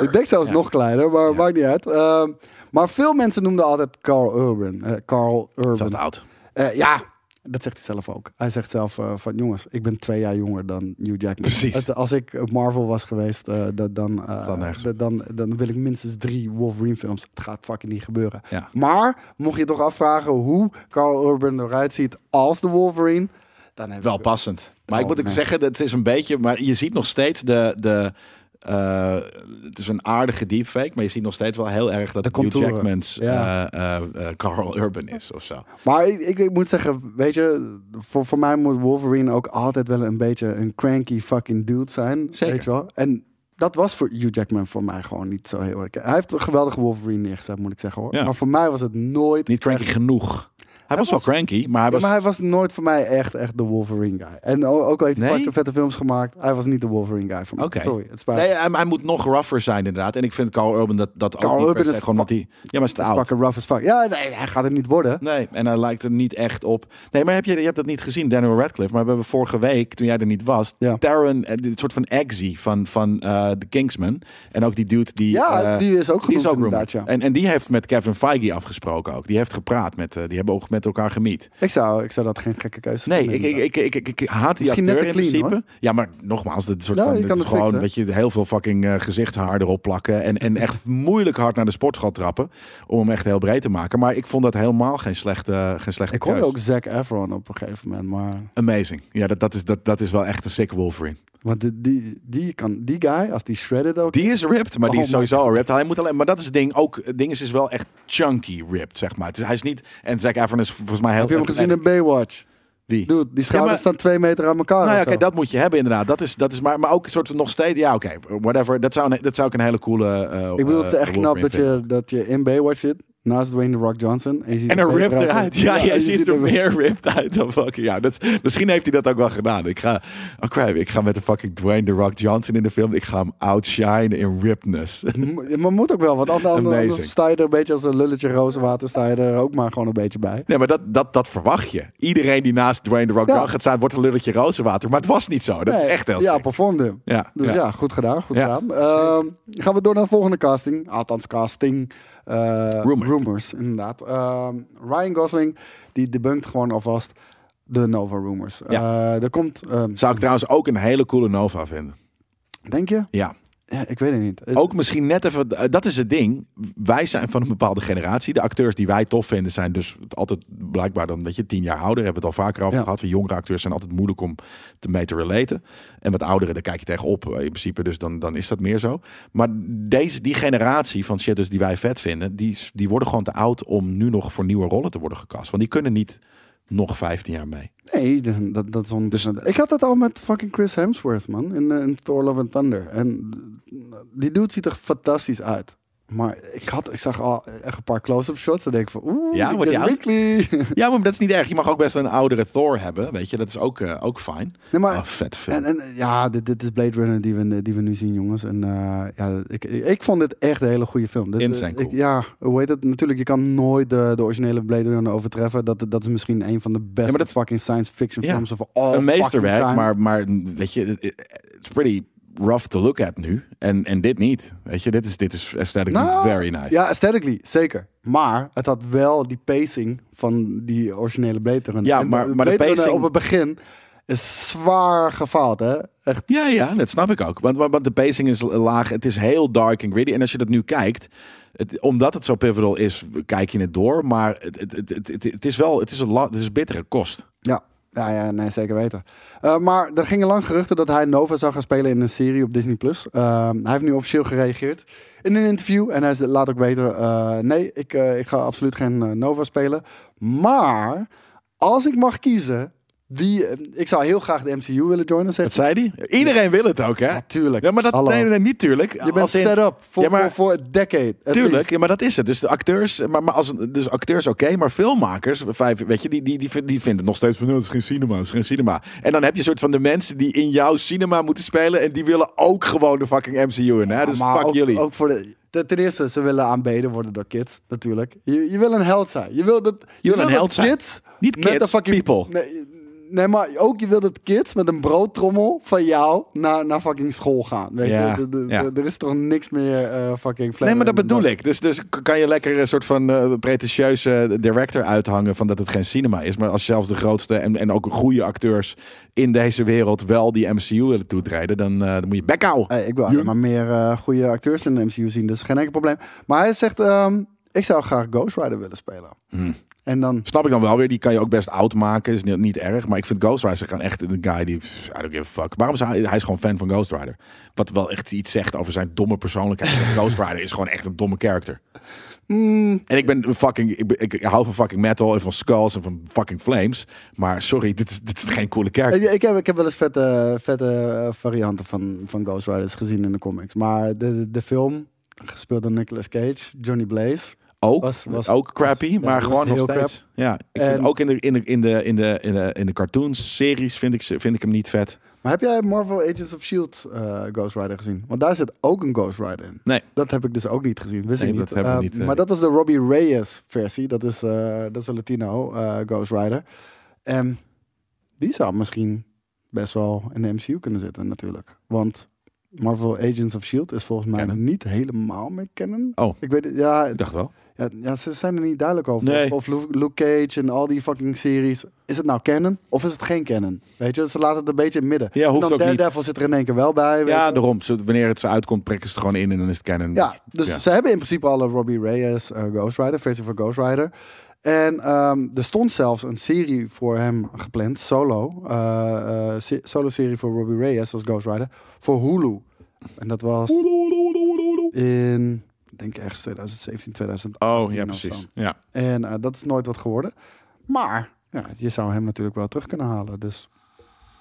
Ik denk zelfs Ja. nog kleiner, maar Ja. maakt niet uit. Ehm, maar veel mensen noemden altijd Carl Urban. eh, Carl Veel Urban. te oud. Eh, ja, Dat zegt hij zelf ook. Hij zegt zelf eh, van jongens, ik ben twee jaar jonger dan Hugh Jackman. Precies. Het- als ik op Marvel was geweest, eh, dat, dan, eh, dan nergens. dat- dan, dan wil ik minstens drie Wolverine films. Het gaat fucking niet gebeuren. Ja. Maar mocht je toch afvragen hoe Carl Urban eruit ziet als de Wolverine, dan heb Wel ik passend. Maar ik moet ook nee. zeggen, dat is een beetje. Maar je ziet nog steeds de. de eh, het is een aardige deepfake, maar je ziet nog steeds wel heel erg dat De het Hugh contouren, Jackman's ja. eh, eh, eh, Carl Urban is of zo. Maar ik, ik, ik moet zeggen, weet je, voor, voor mij moet Wolverine ook altijd wel een beetje een cranky fucking dude zijn. Zeker. Weet je wel? En dat was voor Hugh Jackman voor mij gewoon niet zo heel erg. Hij heeft een geweldige Wolverine neergezet, moet ik zeggen hoor. Ja. Maar voor mij was het nooit... Niet cranky echt- genoeg. Hij, was, was- wel cranky, maar hij Ja, was. maar hij was nooit voor mij echt, echt de Wolverine guy. En o- ook al heeft hij Nee? fucking vette films gemaakt, hij was niet de Wolverine guy voor mij. Oké. Sorry, het spijt me. Nee, hij, hij moet nog rougher zijn inderdaad. En ik vind Carl Urban dat, dat ook Carl niet per Urban se, is gewoon dat hij... Ja, maar is te Dat is oud. fucking rough as fuck. Ja, nee, hij gaat het niet worden. Nee, en hij lijkt er niet echt op. Nee, maar heb je, je hebt dat niet gezien, Daniel Radcliffe. Maar we hebben vorige week, toen jij er niet was, Ja. Taron, eh, dit soort van Eggsy van, van eh The Kingsman. En ook die dude die... Ja, eh, die is ook die genoemd is ook inderdaad, rumored. ja. en, en die heeft met Kevin Feige afgesproken ook. Die heeft gepraat met... eh, die hebben ook met elkaar gemiet. Ik zou, ik zou dat geen gekke keuze Nee, vinden, ik, inderdaad. ik, ik, ik, ik, ik haat die Misschien net acteur in te clean, principe. Ja, maar nogmaals, dat soort Ja, van, je dat kan is het gewoon fixen. dat je heel veel fucking eh, gezichtshaar erop plakken. En, en echt (laughs) moeilijk hard naar de sport gaat trappen. Om hem echt heel breed te maken. Maar ik vond dat helemaal geen slechte, geen slechte Ik hoorde keus. ook Zac Efron op een gegeven moment, maar... Amazing. Ja, dat, dat, is, dat, dat is wel echt een sick Wolverine. Want die, die, die, kan, die guy, als die shredded ook... Die is ripped, maar die Oh is my sowieso al ripped. Hij moet alleen, maar dat is het ding. Ook het ding is, is wel echt chunky ripped, zeg maar. Het is, hij is niet. En Zac Efron is volgens mij heel. Heb je hem erg- gezien in Baywatch? Die. Dude, die schouders Ja, maar- staan twee meter aan elkaar. Nou ja, of zo. kijk, dat moet je hebben inderdaad. Dat is, dat is maar, maar ook een soort van nog steeds. Ja, oké, whatever. Dat zou, een- dat zou ik een hele coole. eh, Ik bedoel, het is eh, echt knap Wolverine dat vinden. je, dat je in Baywatch zit, naast Dwayne The Rock Johnson. En, je ziet En er ripped eruit. eruit. Ja, jij je ziet er hem- meer ripped uit dan fucking. Ja, dat, misschien heeft hij dat ook wel gedaan. Ik ga. Oh crap, ik ga met de fucking Dwayne The Rock Johnson in de film. Ik ga hem outshine in ripness. (laughs) M- (laughs) Maar moet ook wel, want anders, Amazing. anders sta je er een beetje als een lulletje rozenwater, sta je er ook maar gewoon een beetje bij. Nee, maar dat, dat, dat verwacht je. Iedereen die naast Dwayne The Rock Ja. Johnson gaat staan, wordt een lulletje rozenwater. Maar het was niet zo. Dat Nee, is echt heel Ja, sick. performde hem. Ja, Dus ja. ja. goed gedaan, goed Ja. gedaan. Ehm, gaan we door naar de volgende casting. Althans, casting. eh, Rumor. Rumors, inderdaad. Ehm, Ryan Gosling, die debunkt gewoon alvast de Nova Rumors. Ja. Eh, er komt, ehm, Zou ik trouwens ook een hele coole Nova vinden. denk je? Ja. Ja, ik weet het niet. Eh, Het- Ook misschien net even, eh, dat is het ding. Wij zijn van een bepaalde generatie. De acteurs die wij tof vinden zijn dus altijd blijkbaar dan, weet je, tien jaar ouder. Hebben we het al vaker over Ja. gehad. Van jongere acteurs zijn altijd moeilijk om te mee te relaten. En wat ouderen, daar kijk je tegenop eh, in principe. Dus dan, dan is dat meer zo. Maar deze, die generatie van shit dus die wij vet vinden, die, die worden gewoon te oud om nu nog voor nieuwe rollen te worden gecast. Want die kunnen niet nog 15 jaar mee. Nee, de- dat, dat is onbestemd. Dus- ik had dat al met fucking Chris Hemsworth, man. In, eh, in Thor Love and Thunder. En die dude ziet er fantastisch uit. Maar ik, had, ik zag al echt een paar close-up shots. En denk ik van, oeh, Ja, ik wordt ben die oud? wrinkly. Ja, maar dat is niet erg. Je mag ook best een oudere Thor hebben. Weet je, dat is ook, eh, ook fijn. (laughs) Nee, maar- Oh, vet film. En, en ja, dit, dit is Blade Runner die we, die we nu zien, jongens. En eh, ja, ik, ik, ik vond dit echt een hele goede film. Dit, eh, Insane ik- cool. ja, hoe heet het? Natuurlijk, je kan nooit de, de originele Blade Runner overtreffen. Dat, dat is misschien een van de beste maar dat- fucking science fiction Ja. films of all een fucking meesterwerk, time. maar, maar weet je, it's pretty rough to look at nu. En, en dit niet. Weet je, dit is, dit is aesthetically Nou, very nice. Ja, aesthetically, zeker. Maar het had wel die pacing van die originele Blade Runner. Ja, En maar- maar de Blade Runner pacing- op het begin is zwaar gefaald, hè? Echt. Ja, ja, dat snap ik ook. Want, want want de pacing is laag. Het is heel dark en gritty. En als je dat nu kijkt, het- omdat het zo pivotal is, kijk je het door. Maar het, het, het, het- het, het is wel, het is een la- het is bittere kost. Ja. Ja, ja, nee, zeker weten. Eh, maar er gingen lang geruchten dat hij Nova zou gaan spelen in een serie op Disney+. Plus. Eh, hij heeft nu officieel gereageerd in een interview. En hij ze- laat ook weten, eh, nee, ik, eh, ik ga absoluut geen eh, Nova spelen. Maar als ik mag kiezen, wie, eh, ik zou heel graag de MCU willen joinen, Dat zegt hij. zei hij. Iedereen wil het ook, hè? Ja, tuurlijk. Ja, maar dat, Hallo. nee, nee, niet tuurlijk. Je bent Als in- set up voor, Ja, maar- voor, voor een decade. at Tuurlijk, least. ja, maar dat is het. Dus de acteurs, maar, maar als, een- dus acteurs oké, maar filmmakers, vijf, weet je, die, die, die, vind- die vinden het nog steeds van, "Oh, het is geen cinema, het is geen cinema. En dan heb je een soort van de mensen die in jouw cinema moeten spelen en die willen ook gewoon de fucking MCU in, hè? Dus Maar fuck ook, jullie. Ook voor de, ten- ten eerste, ze willen aanbeden worden door kids, natuurlijk. Je, je wil een held zijn. Je wil dat, je wil een dat held zijn. kids Niet met kids, de fucking, people. Nee, Nee, maar ook je wil dat kids met een broodtrommel van jou naar, naar fucking school gaan. Weet Ja, je, De- de- ja. de- er is toch niks meer eh, fucking Nee, maar dat flatter- bedoel ik. Dus, dus k- kan je lekker een soort van eh, pretentieuze director uithangen van dat het geen cinema is. Maar als zelfs de grootste en, en ook goede acteurs in deze wereld wel die MCU willen toetreden, dan, eh, dan moet je bek houden. Hey, ik wil alleen maar meer eh, goede acteurs in de MCU zien, dus geen enkel probleem. Maar hij zegt, ehm, ik zou graag Ghost Rider willen spelen. Hmm. En dan, Snap ik dan wel weer. Die kan je ook best oud maken. Is niet, niet erg. Maar ik vind Ghost Rider gewoon echt een guy die... pff, I don't give a fuck. Waarom is hij... Hij is gewoon fan van Ghost Rider. Wat wel echt iets zegt over zijn domme (laughs) persoonlijkheid. Ghost Rider is gewoon echt een domme character. En ik ben een fucking... Ik, ben- ik hou van fucking metal en van skulls en van fucking flames. Maar sorry, dit is, dit is geen coole character. ik, ik heb, ik heb wel eens vette, vette eh, varianten van, van Ghost Riders gezien in de comics. Maar de, de, de film, gespeeld door Nicolas Cage, Johnny Blaze. Ook, was- was- ook crappy, was- ja, maar was gewoon nog heel steeds. Ja, ik vind En- ook in de, in de, in de, in de, in de, in de cartoons-series vind ik, ze- vind ik hem niet vet. Maar heb jij Marvel Agents of S.H.I.E.L.D. eh, Ghost Rider gezien? Want daar zit ook een Ghost Rider in. Nee. Dat heb ik dus ook niet gezien. Wist Nee, ik niet. dat hebben we Eh, niet, eh, maar dat was de Robbie Reyes versie. Dat is, eh, dat is een Latino eh, Ghost Rider. En die zou misschien best wel in de MCU kunnen zitten natuurlijk. Want Marvel Agents of S.H.I.E.L.D. E is volgens mij Canon. niet helemaal meer kennen. Oh. Ik weet het, ja, Ik dacht wel. ja, ja, ze zijn er niet duidelijk over. Nee. Of, of Lu- Luke Cage en al die fucking series. Is het nou canon of is het geen canon? Weet je, ze laten het een beetje in het midden. Ja, hoeft en dan ook niet. Daredevil zit er in één keer wel bij. weet Ja, je. daarom. Zo- Wanneer het zo uitkomt, prikken ze het gewoon in en dan is het canon. Ja, dus Ja. ze hebben in principe alle Robbie Reyes eh, Ghost Rider, versie van Ghost Rider. En ehm, er stond zelfs een serie voor hem gepland, solo. eh, eh, se- solo-serie voor Robbie Reyes als Ghost Rider, voor Hulu. En dat was in, ik denk ergens 2017, 2018. Oh, ja, of zo. precies. Ja. En eh, dat is nooit wat geworden. Maar ja, je zou hem natuurlijk wel terug kunnen halen. Dus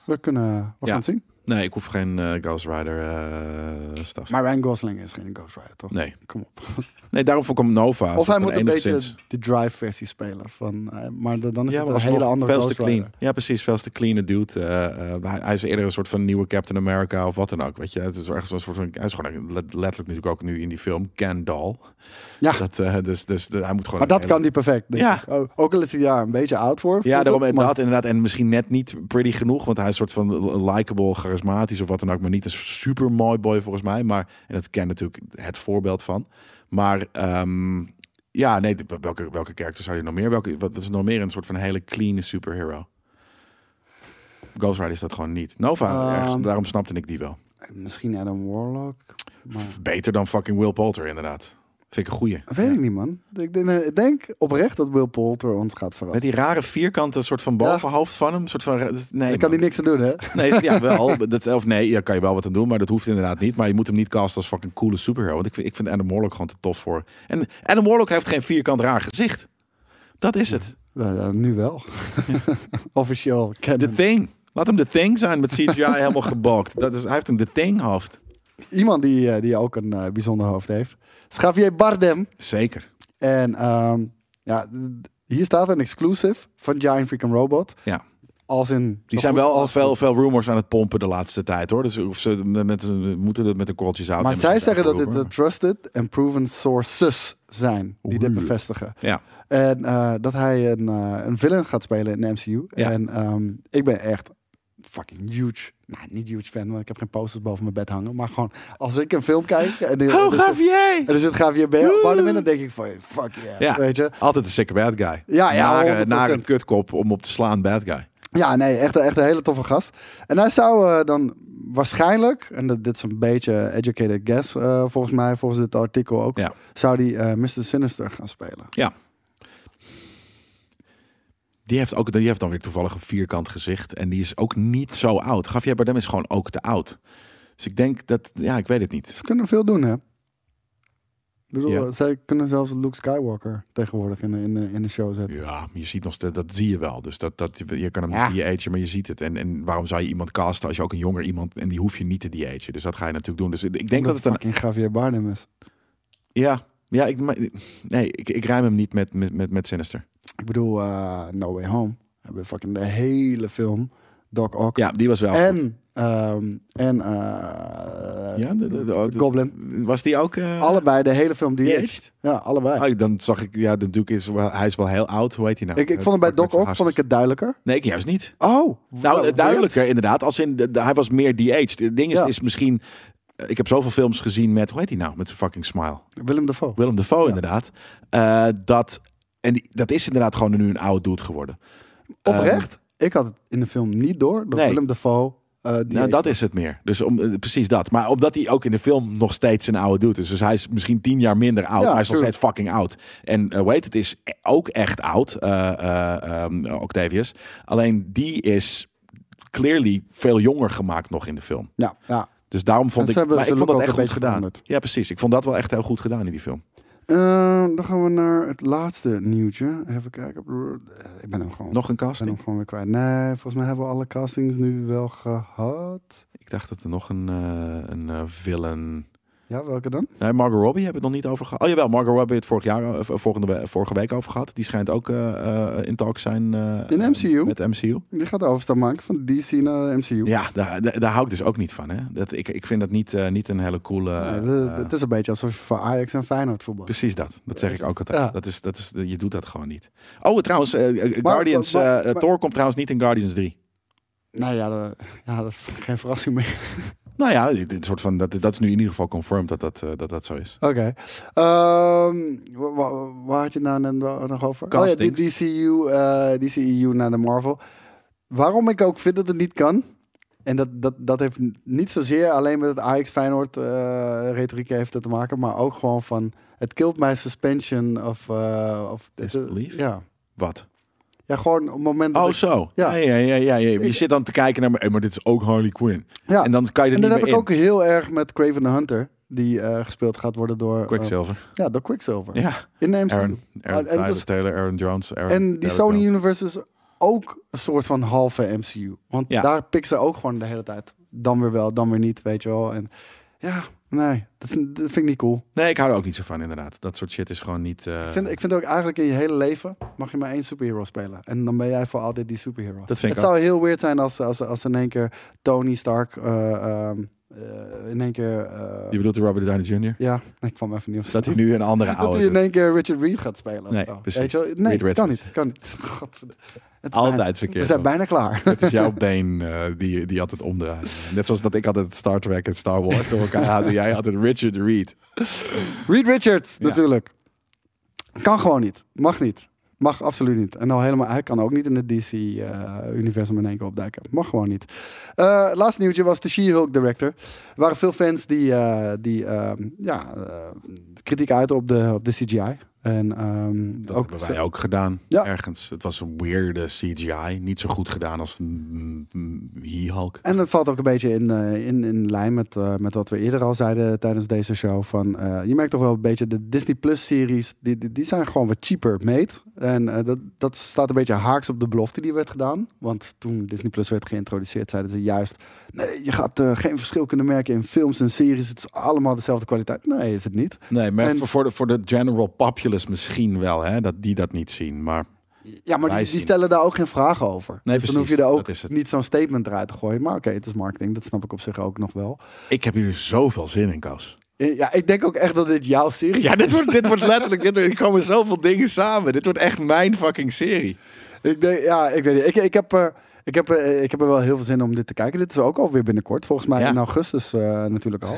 we, kunnen, we Ja. gaan het zien. Nee, ik hoef geen eh, Ghost Rider eh staf. Maar Ryan Gosling is geen Ghost Rider, toch? Nee. Kom op. nee, daarom vond ik hem Nova. Of Soort hij van moet een beetje enigszins- de drive-versie spelen. Van, eh, maar de- dan is Ja, het maar een alsnog hele andere veel te Ghost clean. Rider. Ja, precies. Veel te clean dude. Eh, eh, hij, hij is eerder een soort van nieuwe Captain America of wat dan ook. Weet je, het is ergens een soort van. Hij is gewoon een- let- letterlijk natuurlijk ook nu in die film Ken Doll. Ja, Dat, eh, dus, dus de- hij moet gewoon. maar een dat hele- kan die perfect. denk Ja. ik. Ook- ook al is hij daar een beetje oud voor. (laughs) Ja, daarom maar, inderdaad, inderdaad. En misschien net niet pretty genoeg. Want hij is een soort van likable, charismatisch of wat dan ook. Maar niet een super mooi boy volgens mij. Maar, en dat ken natuurlijk het voorbeeld van. Maar ehm, ja, nee, de- welke, welke character zou je nog meer? Welke, wat, wat is nog meer een soort van hele clean superhero? Ghost Rider is dat gewoon niet. Nova, Ehm. ergens, daarom snapte ik die wel. Misschien Adam Warlock. Maar, F- Beter dan fucking Will Poulter inderdaad. Vind ik een goeie. weet ik niet, man. Ik denk, eh, ik denk oprecht dat Will Poulter ons gaat Met verrassen. die rare vierkante soort van bovenhoofd van hem. Soort van, ra- dus- nee, Daar kan man. hij niks aan doen, hè? Nee, ja, wel. Dat, of nee, daar kan je wel wat aan doen, maar dat hoeft inderdaad niet. Maar je moet hem niet casten als fucking coole superhero. Want ik, vind- ik vind Adam Warlock gewoon te tof voor. En Adam Warlock heeft geen vierkant raar gezicht. Dat is het. Nou, ja, nu (laughs) wel. Officieel The canon. Thing. Laat hem The Thing zijn met (laughs) CGI helemaal gebalkt. Dat is, hij heeft een The Thing hoofd. Iemand die, eh, die ook een eh, bijzonder hoofd heeft. is Javier Bardem. Zeker. En ehm, ja, d- hier staat een exclusive van Giant Freaking Robot. Ja. Als in... Die zijn wel al veel, veel rumors aan het pompen de laatste tijd hoor. Dus of ze met, ze moeten dat met een korreltje zout Maar nemen, zij is zeggen dat dit uitgeroepen, de trusted and proven sources zijn die dit Oeh. bevestigen. maar- Ja. En eh, dat hij een, eh, een villain gaat spelen in de MCU. Ja. En ehm, ik ben echt fucking huge. Nou, niet huge fan, want ik heb geen posters boven mijn bed hangen. Maar gewoon, als ik een film kijk... En die, Oh, er zit- Javier! En er zit Javier Bardem in, dan denk ik van, fuck yeah, Ja. weet je. Altijd een sick bad guy. Ja, ja, Nare, 100%. nare kutkop om op te slaan bad guy. Ja, nee, echt, echt een hele toffe gast. En hij zou eh, dan waarschijnlijk, en dat, dit is een beetje educated guess eh, volgens mij, volgens dit artikel ook, Ja. zou die eh, Mr. Sinister gaan spelen. Ja. Die heeft, ook, die heeft dan weer toevallig een vierkant gezicht. En die is ook niet zo oud. Javier Bardem is gewoon ook te oud. Dus ik denk dat... Ja, ik weet het niet. Ze kunnen veel doen, hè? Ik bedoel, eh, Ja. zij kunnen zelfs Luke Skywalker tegenwoordig in de, in de, in de show zetten. Ja, maar je ziet nog, steeds- dat zie je wel. Dus dat, dat, je kan hem Ja. niet de-agen, maar je ziet het. En, en waarom zou je iemand casten als je ook een jonger iemand... En die hoef je niet te de-agen. Dus dat ga je natuurlijk doen. Dus ik denk dat het een... fucking Javier Bardem is. Ja, ja ik, maar- nee, ik, ik ruim hem niet met, met, met, met Sinister. Ik bedoel, eh, No Way Home. We hebben fucking de hele film Doc Ock. Ja, die was wel Nou, goed. en Ehm, en eh, Ja, de, de- de- oh, dat- Goblin. Was die ook... eh, Allebei, de hele film die Jeugd? is. Ja, allebei. Oh, dan zag ik, ja, natuurlijk is wel, hij is wel heel oud. Hoe heet hij nou? ik, ik vond het bij Doc ook vond ik het duidelijker. Nee, ik juist niet. Oh, Nou, wow, duidelijker inderdaad. Als in, de- de- hij was meer die age. Het ding is, Ja. is misschien... eh, Ik heb zoveel films gezien met, hoe heet hij nou? Met zijn fucking smile. weird. Willem Dafoe. Willem Dafoe inderdaad. Eh, dat, en die- dat is inderdaad gewoon nu een oud dude geworden. Oprecht? ik had het in de film niet door. Dat ehm, Nee. Willem Dafoe. eh, die Nou, dat is het meer. Dus om, eh, precies dat. Maar omdat hij ook in de film nog steeds een oude dude is. Dus hij is misschien tien jaar minder oud. Ja, maar hij is nog tuurlijk. steeds fucking oud. En eh, hoe heet het is e- ook echt oud, eh, eh, ehm, Octavius. Alleen die is clearly veel jonger gemaakt nog in de film. Ja, Nou, ja. Dus daarom vond En ik, ze hebben maar ik zijn vond look dat ook echt een goed beetje gedaan. veranderd. Ja, precies. Ik vond dat wel echt heel goed gedaan in die film. Eh, dan gaan we naar het laatste nieuwtje. Even kijken. Ik ben hem gewoon, Nog een ik ben hem casting. gewoon weer kwijt. Nee, volgens mij hebben we alle castings nu wel gehad. Ik dacht dat er nog een, eh, een eh, villain... Ja, welke dan? Nee, Margot Robbie hebben we het nog niet over gehad. Oh jawel, Margot Robbie heeft het vorig jaar, eh, volgende, we- vorige week over gehad. Die schijnt ook eh, eh, in talk zijn. eh, In MCU? Met MCU. Die gaat de overstap maken van DC naar MCU. Ja, daar, daar, daar hou ik dus ook niet van. Hè? Dat, ik, ik vind dat niet, eh, niet een hele coole... Ja, eh, de- het is een beetje alsof je voor Ajax en Feyenoord voetbal. Precies dat. Dat zeg ik ook altijd. Ja. Dat is, dat is, je doet dat gewoon niet. Oh, trouwens, eh, eh, maar- Guardians... eh maar- eh, Thor komt trouwens niet in Guardians 3. Nou ja, dat, ja, dat is geen verrassing meer. Nou ja, dit, dit soort van, dat, dat is nu in ieder geval confirmed dat dat, eh, dat, dat zo is. (laughs) Oké. Ehm, wa- wa- waar had je het nou net wa- nog over? Oh ja, die Castings. DCU, eh, DCEU naar de Marvel. Waarom ik ook vind dat het niet kan... En dat, dat, dat heeft n- niet zozeer alleen met het Ajax Feyenoord eh retoriek heeft het te maken, maar ook gewoon van het killt my suspension of eh, of Disbelief? ja, Wat? ja gewoon op het moment dat Oh, ik- zo. Ja. Ja, Ja. ja, ja, ja. Je Ik- zit dan te kijken naar... eh, Maar dit is ook Harley Quinn. ja. En dan kan je er En niet dat meer heb ik in. ook heel erg met Craven the Hunter, die eh, gespeeld gaat worden door eh, Quicksilver. ja, door Quicksilver. Ja. In de MCU. Aaron, Aaron Ah, en Tyler dus- Taylor, Aaron Jones. Aaron en die Taylor Sony Jones. Universe is ook een soort van halve MCU. Want Ja. daar pikt ze ook gewoon de hele tijd. Dan weer wel, dan weer niet, weet je wel. En ja, nee, dat, is, dat vind ik niet cool. Nee, ik hou er ook niet zo van, inderdaad. Dat soort shit is gewoon niet... eh, Ik vind, ik vind ook eigenlijk in je hele leven mag je maar één superhero spelen. En dan ben jij voor altijd die superhero. Dat vind ik Het zou heel weird zijn als, als, als in één keer Tony Stark eh, ehm, eh, in één keer... eh, Je bedoelt de Robert Downey Jr.? ja, ik kwam even niet op Dat hij nu een andere dat hij oude in doet. één keer Richard Reed gaat spelen. of Nee, zo. precies. Weet je wel? Nee, Reed kan Richards. niet. Kan niet. (laughs) Godverd- Het is bijna- Altijd We verkeerd. zijn hoor. bijna klaar. (laughs) Het is jouw been eh, die, die altijd omdraait. Net zoals dat ik altijd Star Trek en Star Wars door elkaar haalde. Jij altijd Richard Reed. Reed Richards, Ja. natuurlijk. Kan gewoon niet. Mag niet. Mag absoluut niet. En al helemaal, hij kan ook niet in het DC-universum in één keer opduiken. Mag gewoon niet. Eh, het laatste nieuwtje was de She-Hulk director. Er waren veel fans die, eh, die ehm, ja, eh, kritiek uiten op de, op de CGI. En, ehm, Dat ook, hebben wij ook gedaan. Ja. Ergens. Het was een weirde CGI. Niet zo goed gedaan als mm, mm, He-Hulk. En dat valt ook een beetje in, eh, in, in lijn met, eh, met wat we eerder al zeiden tijdens deze show. Van, eh, je merkt toch wel een beetje de Disney Plus series, die, die, die zijn gewoon wat cheaper made. En eh, dat, dat staat een beetje haaks op de belofte die werd gedaan. Want toen Disney Plus werd geïntroduceerd, zeiden ze juist... Nee, je gaat eh, geen verschil kunnen merken in films en series. Het is allemaal dezelfde kwaliteit. Nee, is het niet. Nee, maar En- voor- voor, de, voor de general populace misschien wel. Hè, dat die dat niet zien. Maar Ja, maar Wij die, die zien. stellen daar ook geen vragen over. dus precies, dan hoef je daar ook dat is het. niet zo'n statement eruit te gooien. Maar oké, het is marketing. Dat snap ik op zich ook nog wel. ik heb hier zoveel zin in, Kas. Eh, Ja, ik denk ook echt dat dit jouw serie Ja, dit wordt, dit wordt letterlijk. Dit, er komen zoveel dingen samen. Dit wordt echt mijn fucking serie. Ik denk, ja, ik weet niet. Ik, ik, heb er, ik, heb er, ik heb er wel heel veel zin om dit te kijken. Dit is ook alweer binnenkort. Volgens mij Ja. in augustus eh, (laughs) natuurlijk al.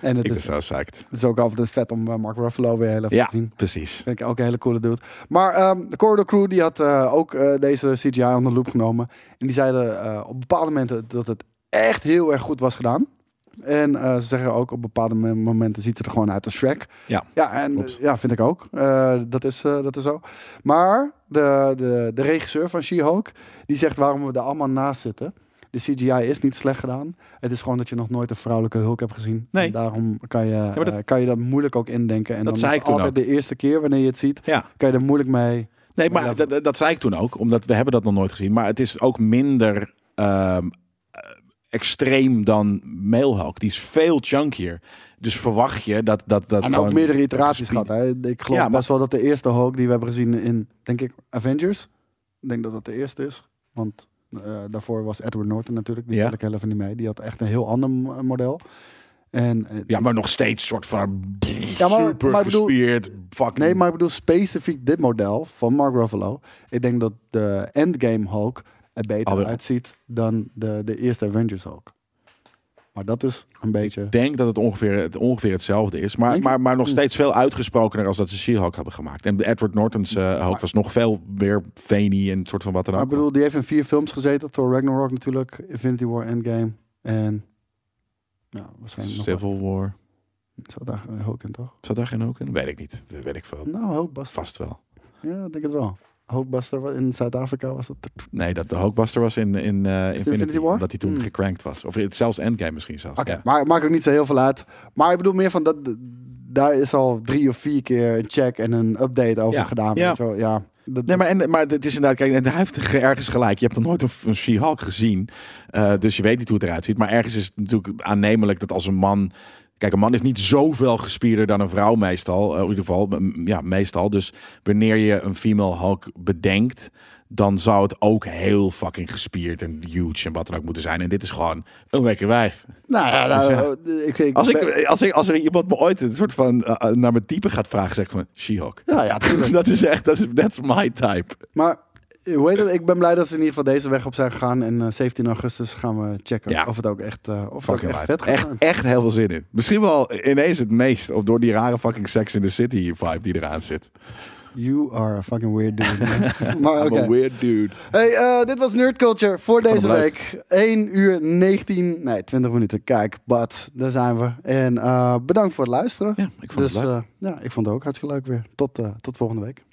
en het Ik ben is, zo psyched. het is ook altijd vet om eh, Mark Ruffalo weer heel even Ja, te zien. precies. Vind ik ook een hele coole dude. Maar ehm, de Corridor Crew die had eh, ook eh, deze CGI onder de loep genomen. En die zeiden eh, op bepaalde momenten dat het echt heel erg goed was gedaan. En eh, ze zeggen ook op bepaalde me- momenten ziet ze er gewoon uit als Shrek. Ja, ja, en, klopt. ja vind ik ook. Eh, dat, is, eh, dat is zo. Maar de, de, de regisseur van She-Hulk, die zegt waarom we er allemaal naast zitten. De CGI is niet slecht gedaan. Het is gewoon dat je nog nooit een vrouwelijke hulk hebt gezien. Nee. En daarom kan je, maar dat- eh, kan je dat moeilijk ook indenken. En Dat dan zei is ik toen altijd ook. de eerste keer wanneer je het ziet, Ja. kan je er moeilijk mee. Nee, maar Ja. dat- dat, dat zei ik toen ook. Omdat we hebben dat nog nooit gezien. Maar het is ook minder ehm, eh, extreem dan Mailhawk. Die is veel chunkier. Dus verwacht je dat... dat, dat En ook gewoon- meerdere iteraties gespeed- gehad. Hè. Ik geloof Ja, maar- best wel dat de eerste Hulk die we hebben gezien in, denk ik, Avengers. Ik denk dat dat de eerste is. Want Eh, daarvoor was Edward Norton natuurlijk. Die Ja. had ik heel even niet mee. Die had echt een heel ander mo- model. En, eh, Ja, maar nog steeds soort van Ja, maar- super maar ik bedoel- gespierd. Fucking, Nee, maar ik bedoel specifiek dit model van Mark Ruffalo. Ik denk dat de Endgame Hulk er beter Alweer. uitziet dan de, de eerste Avengers Hulk. Maar dat is een beetje... Ik denk dat het ongeveer, het ongeveer hetzelfde is. Maar, Denk je? Hm. maar, maar nog steeds veel uitgesprokener als dat ze She-Hulk hebben gemaakt. En Edward Norton's eh Hulk was nog veel meer veiny en soort van wat dan Maar ook. ik bedoel, die heeft in vier films gezeten. Thor Ragnarok natuurlijk, Infinity War, Endgame en... Nou, waarschijnlijk nog Civil War. wel- Zat daar Hulk in, toch? Zat daar geen ook in? Weet ik niet. Dat weet ik veel. Nou, Hulkbuster. Vast wel. Ja, ik denk het wel. Hulkbuster wa- in Zuid-Afrika was dat. Nee, dat de Hulkbuster was in, in eh, Infinity, Infinity War? Dat hij toen Hmm. gecrankt was. Of het- zelfs Endgame misschien zelfs. Oké, ja. maar maakt ook niet zo heel veel uit. Maar ik bedoel meer van dat... Daar is al drie of vier keer een check en een update over Ja. gedaan. Ja. weet je wel. ja. Dat, Nee, maar, en, maar het is inderdaad, kijk, en hij heeft ge- ergens gelijk. Je hebt nog nooit een, een She-Hulk gezien, eh, dus je weet niet hoe het eruit ziet. Maar ergens is het natuurlijk aannemelijk dat als een man... Kijk, een man is niet zoveel gespierder dan een vrouw meestal. eh, in ieder geval, m- ja, meestal. Dus wanneer je een female Hulk bedenkt, dan zou het ook heel fucking gespierd en huge en wat dan ook moeten zijn. En dit is gewoon een lekker wijf. Nou ja, nou, ik, ik, Als, ben- ik, als, ik, als er iemand me ooit een soort van eh, eh, naar mijn type gaat vragen, zeg ik van She-Hulk. Ja, ja, (laughs) tuurlijk. Dat is echt, dat is that's my type. Maar eh, hoe heet dat? Ik ben blij dat ze in ieder geval deze weg op zijn gegaan. En eh, 17 augustus gaan we checken Ja. of het ook echt, eh, of het ook Fucking lijp. echt vet gaat echt, zijn. echt heel veel zin in. Misschien wel ineens het meest. Of door die rare fucking Sex in the City vibe die eraan zit. You are a fucking (laughs) weird dude. maar I'm oké. a weird dude. Hey, eh, dit was Nerd Culture voor hem deze leuk. week. 1 uur 19, nee 20 minuten. Kijk, but, daar zijn we. En eh, bedankt voor het luisteren. Ja, ik vond dus het leuk. eh, ja, ik vond het ook hartstikke leuk weer. Tot, eh, tot volgende week.